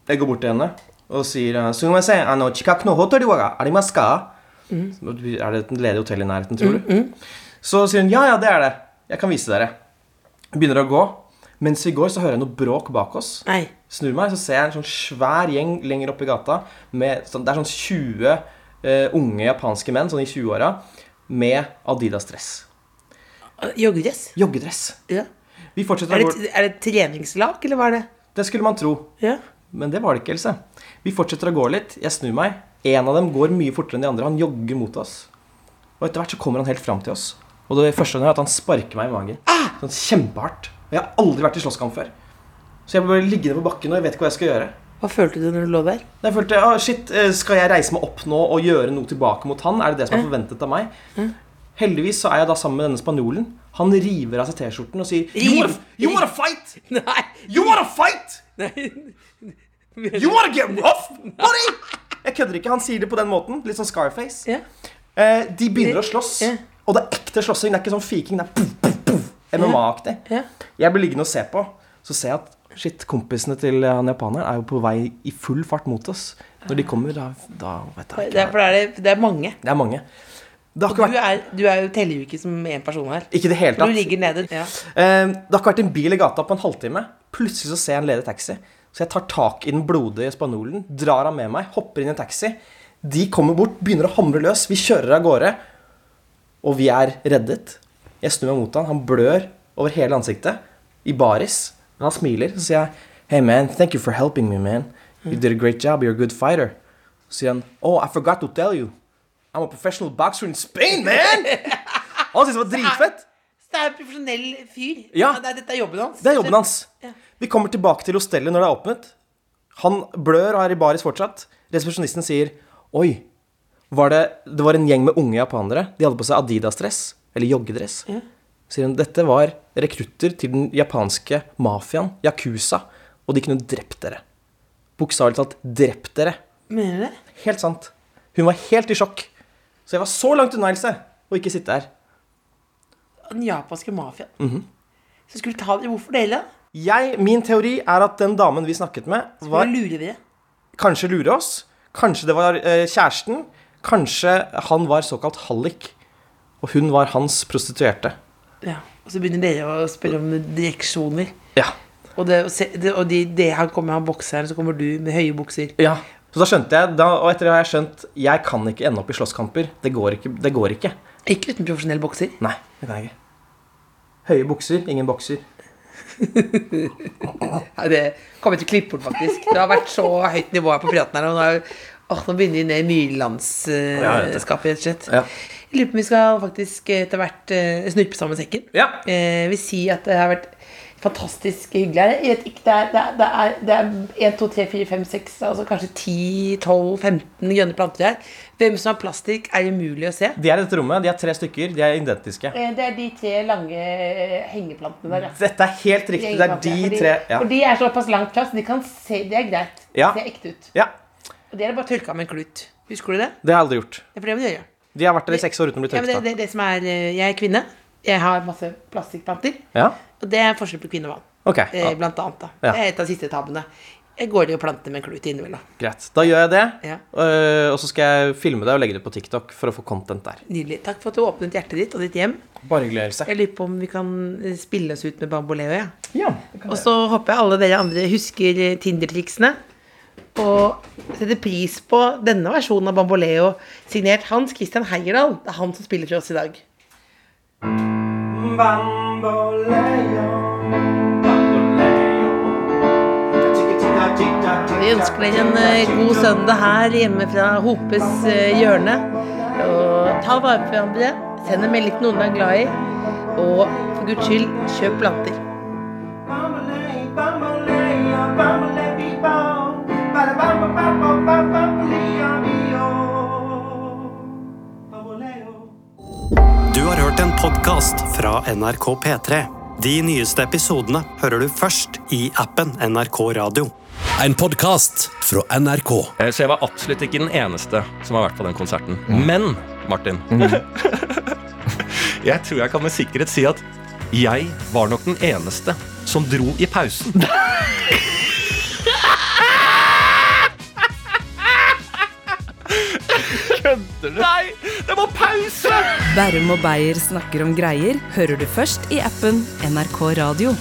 Jeg går bort til henne og sier eh, «Sugimase, ano, chikaku no hotell wa arimasu ka?» Så Er det et ledig hotell i nærheten, tror du? Så sier hun ja, ja, det er det. Jeg kan vise dere. Vi begynner å gå. Mens vi går, så hører jeg noe bråk bak oss. Nei. Snur meg, så ser jeg en sånn svær gjeng lenger oppe i gata. Med, sånn, det er sånn 20 eh, unge japanske menn, sånn i 20-åra, med Adidas-dress. Joggedress. Joggedress. Ja. Vi fortsetter Er å gå det, er det treningslag, eller hva er det? Det skulle man tro, Ja. men det var det ikke, Else. Vi fortsetter å gå litt. Jeg snur meg. En av dem går mye fortere enn de andre. Han jogger mot oss. Og etter hvert så kommer han helt fram til oss. Og det første han gjør, er at han sparker meg i magen. Ah! Sånn kjempehardt. Og jeg har aldri vært i slåsskamp før. Så jeg blir liggende på bakken, og jeg vet ikke hva jeg skal gjøre. Hva følte du når du lå der? Jeg følte ah, shit, eh, skal jeg reise meg opp nå og gjøre noe tilbake mot han? Er det det som er forventet av meg? Heldigvis så er jeg da sammen med denne spanjolen. Han river av seg T-skjorten og sier you wanna, you wanna fight? Nei. You wanna fight? You wanna get rough, buddy? Jeg kødder ikke. Han sier det på den måten. Litt sånn Scarface. Ja. Eh, de begynner å slåss. Ja. Og det er ekte slåssing. Det er ikke sånn fiking. Det er puff, puff, puff. MMA-aktig. Ja. Jeg blir liggende og se på. Så ser jeg at shit, kompisene til han japaneren er jo på vei i full fart mot oss. Når de kommer, da, da vet jeg Det er, ikke. for det er, det er mange. Det er mange. Det har Du ikke vært er, du er jo teller jo ikke som én person her. Ikke i det hele Du tatt. ligger nede. Ja. Eh, Det har ikke vært en bil i gata på en halvtime. Plutselig så ser jeg en ledig taxi. Så jeg tar tak i den blodige spanjolen, drar han med meg, hopper inn i en taxi. De kommer bort, begynner å hamre løs. Vi kjører av gårde. Og vi er reddet. Jeg snur meg mot han. Han blør over hele ansiktet. I baris. Men han smiler. Så sier jeg Hey man, thank you for helping me, man. You did a great job. You're a good fighter. Så sier han Oh, I forgot to tell you. I'm a professional boxer in Spain, man! Han syntes det var dritfett. Så det er en profesjonell fyr. Ja. det er, dette er jobben hans. Det er jobben hans. Vi kommer tilbake til hostellet når det er åpnet. Han blør og er i baris fortsatt. Resepsjonisten sier Oi, var det, det var en gjeng med unge japanere. De hadde på seg Adidas-dress. Eller joggedress. Sier hun, Dette var rekrutter til den japanske mafiaen, Yakuza. Og de kunne drept dere. Bokstavelig talt drept dere. Mener du det? Helt sant. Hun var helt i sjokk. Så jeg var så langt unna, Else, å ikke sitte her. Den japanske mafiaen. Så skulle du ta det Hvorfor det, da? Jeg, min teori er at den damen vi snakket med, Hva var lurer vi det? Kanskje lure oss. Kanskje det var eh, kjæresten. Kanskje han var såkalt hallik. Og hun var hans prostituerte. Ja. Og så begynner dere å spørre om direksjoner. Ja. Og det, og se- det, og de, det han kommer han bokseren, så kommer du med høye bukser. ja. Så da skjønte jeg, da, og etter det har jeg skjønt, jeg kan ikke ende opp i slåsskamper. Det går ikke. Det går ikke. Ikke uten profesjonell bokser. Nei. Det kan jeg ikke. Høye bukser, ingen bokser. Nei, det kommer jeg til å klippe bort, faktisk. Det har vært så høyt nivå her på praten her. Og nå, er, åh, nå begynner vi ned i Ja, jeg vet det. myrlandskapet, rett og slett. Ja. Jeg lurer på om vi skal faktisk etter hvert eh, snurpe sammen sekken. Ja. Eh, vil si at det har vært fantastisk hyggelig her. Jeg vet ikke, det er, det er, det er, det er 1, 2, 3, 4, 5, 6, altså kanskje 10, 12, 15 grønne planter her. Hvem som har plastikk, er umulig å se. De er i dette rommet. De er tre stykker. De er identiske. Eh, Det er de tre lange eh, hengeplantene der. ja. Dette er helt riktig. Det er de tre. Ja. For de er såpass langt fra, så de kan se Det er greit. Ja. Det ser ekte ut. ja. Og det er bare tørka med en klut. Husker du det? Det har jeg aldri gjort. Det er for det må du gjøre. De har vært der i seks år uten å bli Ja, men det, tørsta. det, det som er, eh, jeg er kvinne. Jeg har masse plastikkplanter. Ja? Og det er forskjell på kvinne og mann. Ok. Eh, Ja, Blant annet. da Ja. Det er et av de siste tabbene. Jeg går i og planter med en klut innimellom. greit. Da gjør jeg det. Ja. øh, Og så skal jeg filme det og legge det ut på TikTok for å få content der. Nydelig. Takk for at du åpnet hjertet ditt og ditt hjem. Bare hyggelig, Else. Jeg lurer på om vi kan eh, spille oss ut med bamboleo. Ja. Ja. Og så håper jeg alle dere andre husker eh, Tinder-triksene. Og setter pris på denne versjonen av Bamboleo, signert Hans Christian Heierdal. Det er han som spiller for oss i dag. Vi ønsker dere en eh, god søndag her hjemme fra Hopes eh, hjørne. Og ta vare på hverandre. Send en melding til noen du er glad i. Og for guds skyld, kjøp planter. Du har hørt en podkast fra NRK P3. De nyeste episodene hører du først i appen NRK Radio. En podkast fra NRK. Eh, Så jeg var absolutt ikke den eneste som har vært på den konserten. Men, Martin Jeg tror jeg kan med sikkerhet si at jeg var nok den eneste som dro i pausen. Kødder du? Nei! Det var pause! Bærum og Beyer snakker om greier hører du først i appen NRK Radio.